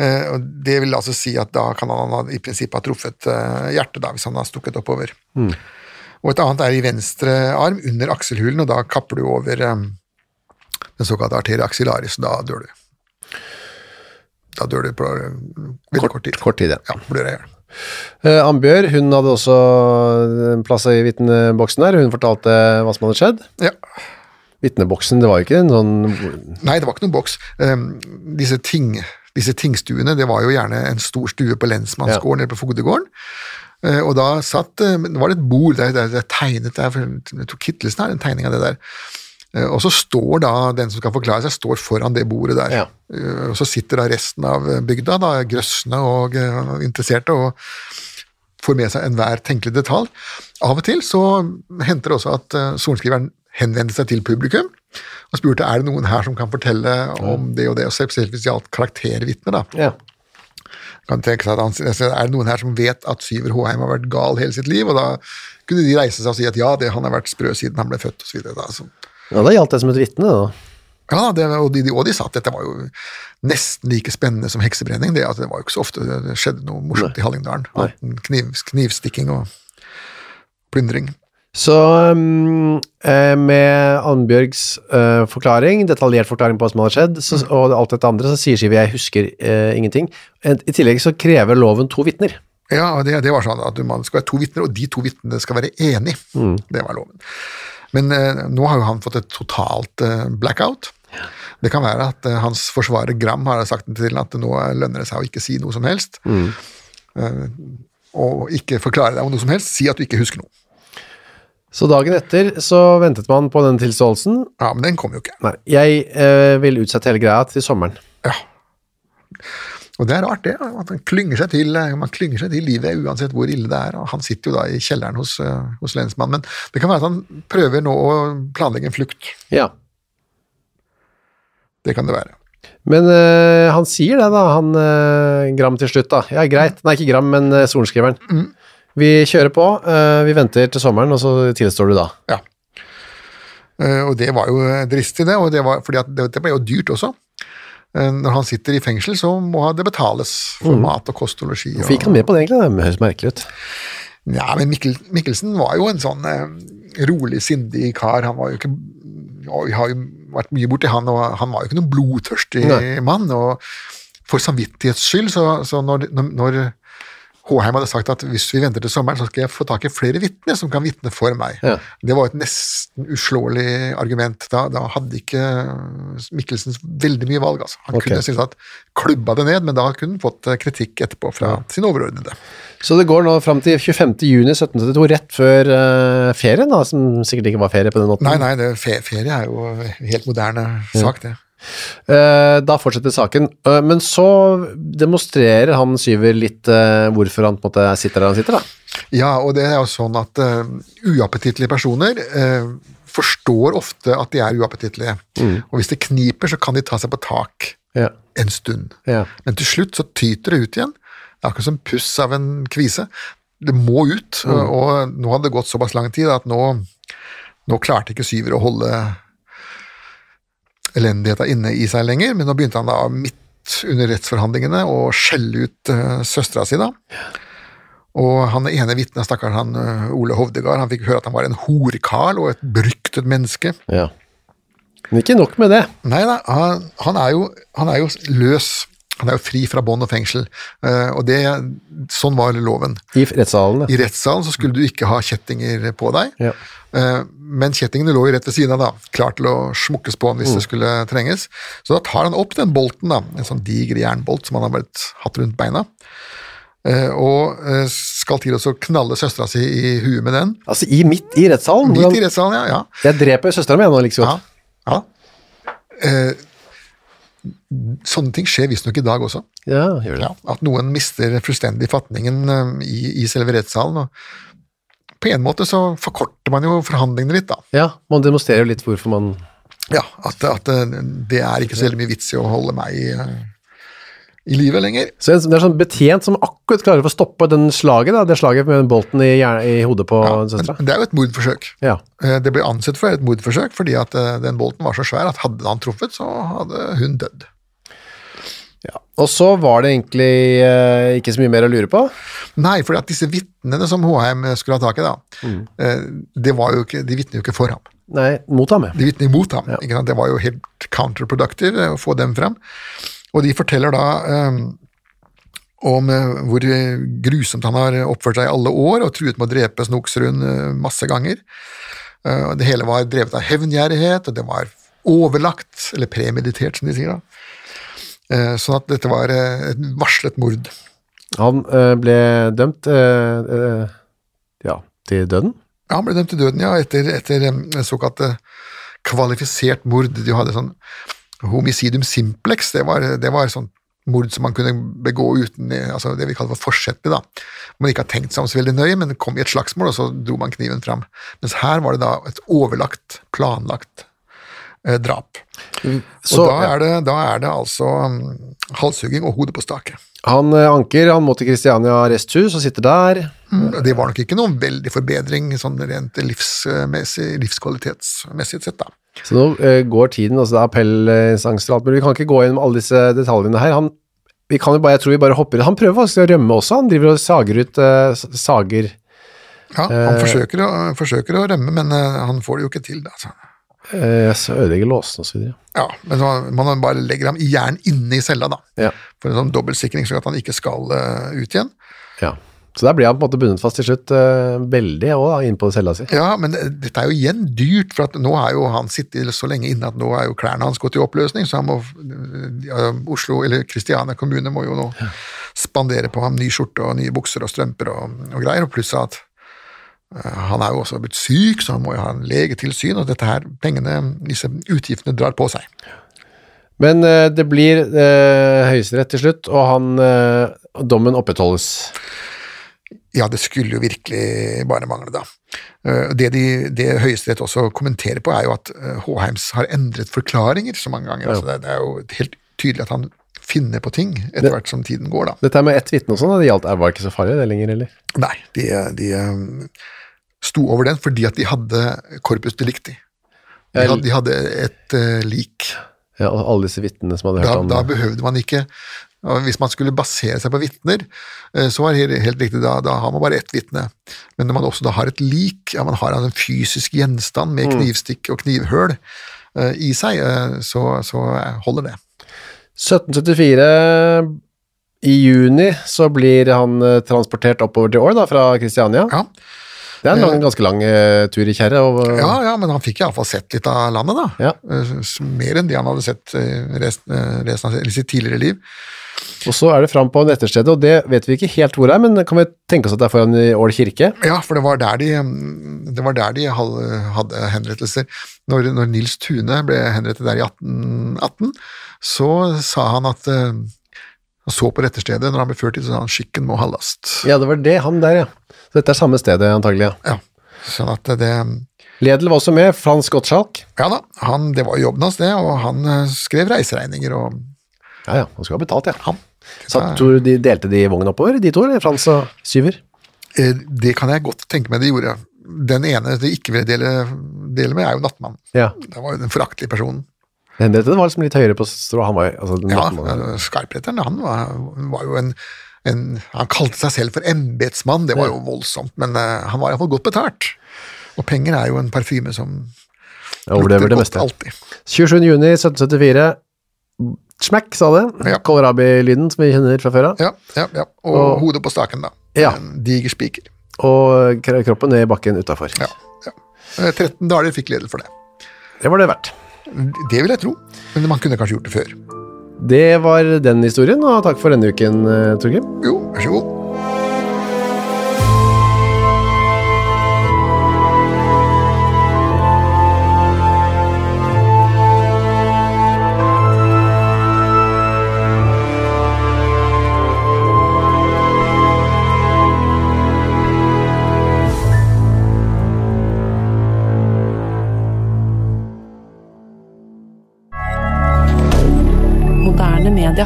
[SPEAKER 7] Eh, og Det vil altså si at da kan han ha- i prinsippet ha truffet eh, hjertet, da, hvis han har stukket oppover. Og et annet er i venstre arm, under akselhulen, og da kapper du over eh, den såkalte arteria axillaris, og da dør du. Da dør du på eh, veldig kort, tid.
[SPEAKER 6] Kort tid, ja.
[SPEAKER 7] Ja, blør jeg i hjel.
[SPEAKER 6] Eh, Ambjørg, hun hadde også eh, en plass i vitneboksen der. Hun fortalte hva som hadde skjedd.
[SPEAKER 7] Ja.
[SPEAKER 6] Vitneboksen, det var jo ikke en sånn
[SPEAKER 7] Nei, det var ikke noen boks. Ehm, disse ting, disse tingstuene. Det var jo gjerne en stor stue på lensmannsgården eller på fogdegården. Eh, Og da satt eh, men Det var et bord der det er tegnet der, for jeg tror Kittelsen har en tegning av det der. Eh, Og så står da den som skal forklare seg, står foran det bordet der.
[SPEAKER 6] Ja.
[SPEAKER 7] Eh, Og så sitter da resten av bygda, da, grøssene og eh, interesserte, og får med seg enhver tenkelig detalj. Av og til så henter det også at eh, sorenskriveren henvendte seg til publikum og spurte er det noen her som kan fortelle om det og det, og spesielt hvis det gjaldt karaktervitner. da
[SPEAKER 6] Ja.
[SPEAKER 7] kan tenke seg at han, altså, er det noen her som vet at Syver Håheim har vært gal hele sitt liv? Og da kunne de reise seg og si at ja, det, han har vært sprø siden han ble født, osv.
[SPEAKER 6] ja, da gjaldt det som et vitne, da.
[SPEAKER 7] Ja, det, og, de, og de sa at dette var jo nesten like spennende som heksebrenning. Det, at det var jo ikke så ofte det skjedde noe morsomt i Hallingdalen.
[SPEAKER 6] Nei.
[SPEAKER 7] annet enn Kniv, knivstikking og plyndring.
[SPEAKER 6] Så mm, eh, med Annbjørgs eh, forklaring, detaljert forklaring på hva som hadde skjedd, så, og alt dette andre, så sier Siv jeg husker eh, ingenting. En- I tillegg så krever loven to vitner.
[SPEAKER 7] Ja, og det, det var sånn at man skal være to vitner, og de to vitnene skal være enige. Det var loven. Men eh, nå har jo han fått et totalt eh, blackout. Det kan være at eh, hans forsvarer Gram har sagt til ham at nå lønner det seg å ikke si noe som helst. Eh, og ikke forklare deg om noe som helst. Si at du ikke husker noe.
[SPEAKER 6] Så dagen etter så ventet man på den tilståelsen.
[SPEAKER 7] Ja, Men den kom jo ikke.
[SPEAKER 6] Nei, jeg eh, vil utsette hele greia til sommeren.
[SPEAKER 7] Ja. Og det er rart, det. At han klynger seg til, eh, man klynger seg til livet uansett hvor ille det er. Og han sitter jo da i kjelleren hos, eh, hos lensmannen. Men det kan være at han prøver nå å planlegge en flukt.
[SPEAKER 6] Ja.
[SPEAKER 7] Det kan det være.
[SPEAKER 6] Men eh, han sier det da, han eh, Gram til slutt da. Ja, greit. Nei, ikke Gram, men eh, sorenskriveren. Vi kjører på, eh, vi venter til sommeren, og så tilstår du da.
[SPEAKER 7] Ja. Eh, Og det var jo dristig, det. Og det, var, fordi at det, det ble jo dyrt også. Eh, Når han sitter i fengsel, så må det betales for mat og kost og losji. og-
[SPEAKER 6] Hvorfor gikk han med på det egentlig? Det høres merkelig ut.
[SPEAKER 7] Ja, men Mikkel, Mikkelsen var jo en sånn eh, rolig, sindig kar. Han var jo ikke ja, Vi har jo vært mye borti han, og han var jo ikke noen blodtørstig
[SPEAKER 6] Nei.
[SPEAKER 7] mann. Og for samvittighets skyld, så, så når, når, når Håheim hadde sagt at hvis vi venter til sommeren, så skal jeg få tak i flere vitner som kan vitne for meg.
[SPEAKER 6] Ja.
[SPEAKER 7] Det var et nesten uslåelig argument. Da, da hadde ikke Mikkelsen veldig mye valg, altså. Han
[SPEAKER 6] Ok.
[SPEAKER 7] kunne synes at klubba det ned, men da kunne han fått eh, kritikk etterpå fra sin overordnede.
[SPEAKER 6] Så det går nå fram til 25. juni 1772, rett før eh, ferien da, som sikkert ikke var ferie på den måten.
[SPEAKER 7] Nei, nei, det, fe, ferie er jo en helt moderne sak, det.
[SPEAKER 6] Eh, da fortsetter saken. Eh, men så demonstrerer han Syver litt eh, hvorfor han på en måte sitter der han sitter da.
[SPEAKER 7] Ja, og det er jo sånn at eh, uappetittlige personer eh, forstår ofte at de er uappetittlige. Og hvis det kniper, så kan de ta seg på tak
[SPEAKER 6] Ja.
[SPEAKER 7] en stund.
[SPEAKER 6] Ja.
[SPEAKER 7] Men til slutt så tyter det ut igjen. Det er akkurat som puss av en kvise. Det må ut, og- og nå hadde det gått såpass lang tid at nå, nå klarte ikke syver å holde elendigheta inne i seg lenger, men nå begynte han da midt under rettsforhandlingene å skjelle ut uh, søstera si, da. Og han ene vitnet, stakkaren han eh, Ole Hovdegard, han fikk høre at han var en horkarl og et beryktet menneske.
[SPEAKER 6] Ja. Men ikke nok med det.
[SPEAKER 7] Nei da, han, han, er jo, han er jo løs. Han er jo fri fra bånd og fengsel. Eh, og det, sånn var loven.
[SPEAKER 6] I rettssalen.
[SPEAKER 7] I rettssalen så skulle du ikke ha kjettinger på deg,
[SPEAKER 6] Ja.
[SPEAKER 7] Eh, men kjettingene lå jo rett ved siden av, da, klar til å smukkes på han hvis
[SPEAKER 6] Mm.
[SPEAKER 7] det skulle trenges. Så da tar han opp den bolten, da, en sånn diger jernbolt som han har vært hatt rundt beina, eh, og eh, skal til å så knalle søstera si i huet med den.
[SPEAKER 6] Altså i midt i rettssalen.
[SPEAKER 7] Midt i
[SPEAKER 6] hvordan-
[SPEAKER 7] rettssalen, ja. ja.
[SPEAKER 6] Jeg dreper søstera mi nå, liksom.
[SPEAKER 7] Ja. ja. Eh, sånne ting skjer visstnok i dag også.
[SPEAKER 6] Ja, gjør det.
[SPEAKER 7] Ja, at noen mister fullstendig fatningen eh, i, i selve rettssalen. Og på en måte så forkorter man jo forhandlingene litt, da.
[SPEAKER 6] Ja, man demonstrerer jo litt hvorfor man
[SPEAKER 7] Ja, at, at eh, det er ikke så veldig mye vits i å holde meg eh, i live lenger.
[SPEAKER 6] Så en- Det er sånn betjent som akkurat klarer å få stoppe den slaget, da, det slaget med den bolten i, hjerne- i hodet på
[SPEAKER 7] Ja, men
[SPEAKER 6] søstera.
[SPEAKER 7] det er jo et mordforsøk.
[SPEAKER 6] Ja.
[SPEAKER 7] Eh, Det ble ansett for et mordforsøk fordi at eh, den bolten var så svær at hadde han truffet, så hadde hun dødd.
[SPEAKER 6] Og så var det egentlig eh, ikke så mye mer å lure på.
[SPEAKER 7] Nei, for at disse vitnene som Håheim skulle ha tak i, da, eh, det var jo ikke, de vitner jo ikke for ham.
[SPEAKER 6] Nei, mot ham, ja.
[SPEAKER 7] De vitner imot ham. Ikke sant? Det var jo helt counterproductive eh, å få dem frem. Og de forteller da eh, om eh, hvor eh, grusomt han har oppført seg i alle år, og truet med å drepe Snoksrud eh, masse ganger. Eh, og det hele var drevet av hevngjerrighet, og det var overlagt, eller premeditert, som de sier da. Eh, Sånn at dette var eh, et varslet mord.
[SPEAKER 6] Han eh, ble dømt eh, eh, ja, til døden.
[SPEAKER 7] Ja, han ble dømt til døden, ja, etter, etter em, såkalt eh, kvalifisert mord. De hadde sånn homicidum simplex, det var, det var sånn mord som man kunne begå uten eh, altså det vi kaller for forsettlig, da. Man ikke har tenkt seg om så veldig nøye, men kom i et slagsmål, og så dro man kniven fram. Mens her var det da et overlagt, planlagt eh, drap.
[SPEAKER 6] Så
[SPEAKER 7] og da er, det, da er det altså mm, halshugging og hodet på stake.
[SPEAKER 6] han eh, anker, han må til Kristiania arresthus og sitter der.
[SPEAKER 7] Det var nok ikke noen veldig forbedring sånn rent livsmessig, livskvalitetsmessig sett, da.
[SPEAKER 6] Så nå eh, går tiden, altså det er appellinstanser og alt, men vi kan ikke gå gjennom alle disse detaljene her. Han, vi kan jo bare, jeg tror vi bare hopper. Han prøver faktisk å rømme også, han driver og sager ut, eh, s- sager.
[SPEAKER 7] Ja, han forsøker, å, forsøker å rømme, men eh, han får det jo ikke til. Da. så-
[SPEAKER 6] Eh, så ødelegger låsen og så videre.
[SPEAKER 7] Ja, men man, man bare legger ham i jern inne i cella, da.
[SPEAKER 6] Ja.
[SPEAKER 7] For en sånn dobbeltsikring, så at han ikke skal eh, ut igjen.
[SPEAKER 6] Ja. Så der blir han på en måte bundet fast til slutt, eh, veldig også da, inne på cella si.
[SPEAKER 7] Ja, men eh, dette er jo igjen dyrt, for at nå har jo han sittet så lenge inne at nå er jo klærne hans gått i oppløsning, så han må eh, ja, Oslo, eller Kristiania kommune, må jo nå spandere på ham ny skjorte og nye bukser og strømper og, og greier, og pluss at eh, han er jo også blitt syk, så han må jo ha en legetilsyn, og dette her, pengene, disse utgiftene drar på seg.
[SPEAKER 6] Men eh, det blir eh, høyesterett til slutt, og han, eh, dommen opprettholdes.
[SPEAKER 7] Ja, det skulle jo virkelig bare mangle, da. Eh, Det, de, det Høyesterett også kommenterer på, er jo at eh, Håheims har endret forklaringer så mange ganger. Altså det, det er jo helt tydelig at han finner på ting etter hvert som tiden går, da.
[SPEAKER 6] Dette her med ett vitne og sånn, da, det gjaldt, var ikke så farlig det lenger, eller?
[SPEAKER 7] Nei, de, de eh, sto over den fordi at de hadde corpus delicti. De
[SPEAKER 6] Jeg-
[SPEAKER 7] hadde, de hadde et eh, lik.
[SPEAKER 6] Ja, og alle disse vitnene som hadde hørt
[SPEAKER 7] Da,
[SPEAKER 6] om
[SPEAKER 7] da behøvde man ikke og Hvis man skulle basere seg på vitner, eh, så var det helt- helt riktig, da, da har man bare ett vitne. Men når man også da har et lik, ja, man har altså en fysisk gjenstand
[SPEAKER 6] Mm.
[SPEAKER 7] med knivstikk og knivhøl eh, i seg, eh, så, så holder det.
[SPEAKER 6] 1774 i juni så blir han eh, transportert oppover til Ål da, fra Kristiania.
[SPEAKER 7] Ja,
[SPEAKER 6] Det er en lang, ganske lang eh, tur i kjerre. og-
[SPEAKER 7] ja, ja men han fikk iallfall sett litt av landet, da.
[SPEAKER 6] Ja.
[SPEAKER 7] Eh, s- Mer enn det han hadde sett eh, resten, eh, resten av sitt tidligere liv.
[SPEAKER 6] Og så er det fram på nettestedet, og det vet vi ikke helt hvor det er, men kan vi tenke oss at det er foran i Ål kirke?
[SPEAKER 7] Ja, for det var der de, mm, det var der de hal- hadde henrettelser. Når, når Nils Tune ble henrettet der i 1818, så sa han at eh, han så på retterstedet når han ble ført dit, så sa han 'skikken må ha last'.
[SPEAKER 6] Ja, det var det, han der, ja. Så dette er samme stedet antagelig, ja.
[SPEAKER 7] Ja, sånn at det
[SPEAKER 6] Ledel var også med, Frans Gottschalk.
[SPEAKER 7] Ja da, han, det var jobben hans, det, og han eh, skrev reiseregninger og
[SPEAKER 6] Ja, ja, han skulle ha betalt, ja.
[SPEAKER 7] han.
[SPEAKER 6] Satt, tror du de delte de vogn oppover, de to, eller Frans og Syver?
[SPEAKER 7] Eh, Det kan jeg godt tenke meg de gjorde. Den ene de ikke ville dele, dele med, er jo Nattmannen.
[SPEAKER 6] Ja.
[SPEAKER 7] Det var jo den foraktelige personen.
[SPEAKER 6] Henriette var liksom litt høyere på strå, han var jo- altså, den
[SPEAKER 7] Ja,
[SPEAKER 6] nattmannen.
[SPEAKER 7] skarpretteren, han var, var jo en, en Han kalte seg selv for embetsmann, det var jo voldsomt, men eh, han var iallfall godt betalt. Og penger er jo en parfyme som
[SPEAKER 6] Ja, overlever det meste.
[SPEAKER 7] godt alltid.
[SPEAKER 6] 27. juni 1774, smekk, sa det.
[SPEAKER 7] Ja.
[SPEAKER 6] Kålrabi-lyden som vi kjenner fra før av.
[SPEAKER 7] Ja, ja, ja. Og,
[SPEAKER 6] Og-
[SPEAKER 7] hodet på staken, da.
[SPEAKER 6] Ja.
[SPEAKER 7] En diger spiker.
[SPEAKER 6] Og kro- kroppen ned i bakken utafor.
[SPEAKER 7] Ja, ja. Eh, 13 daler fikk ledel for det.
[SPEAKER 6] Det var det verdt.
[SPEAKER 7] Det vil jeg tro, men man kunne kanskje gjort det før.
[SPEAKER 6] Det var den historien, og takk for denne uken, eh, Torgrim.
[SPEAKER 7] Jo, vær så god.
[SPEAKER 4] Moderne media.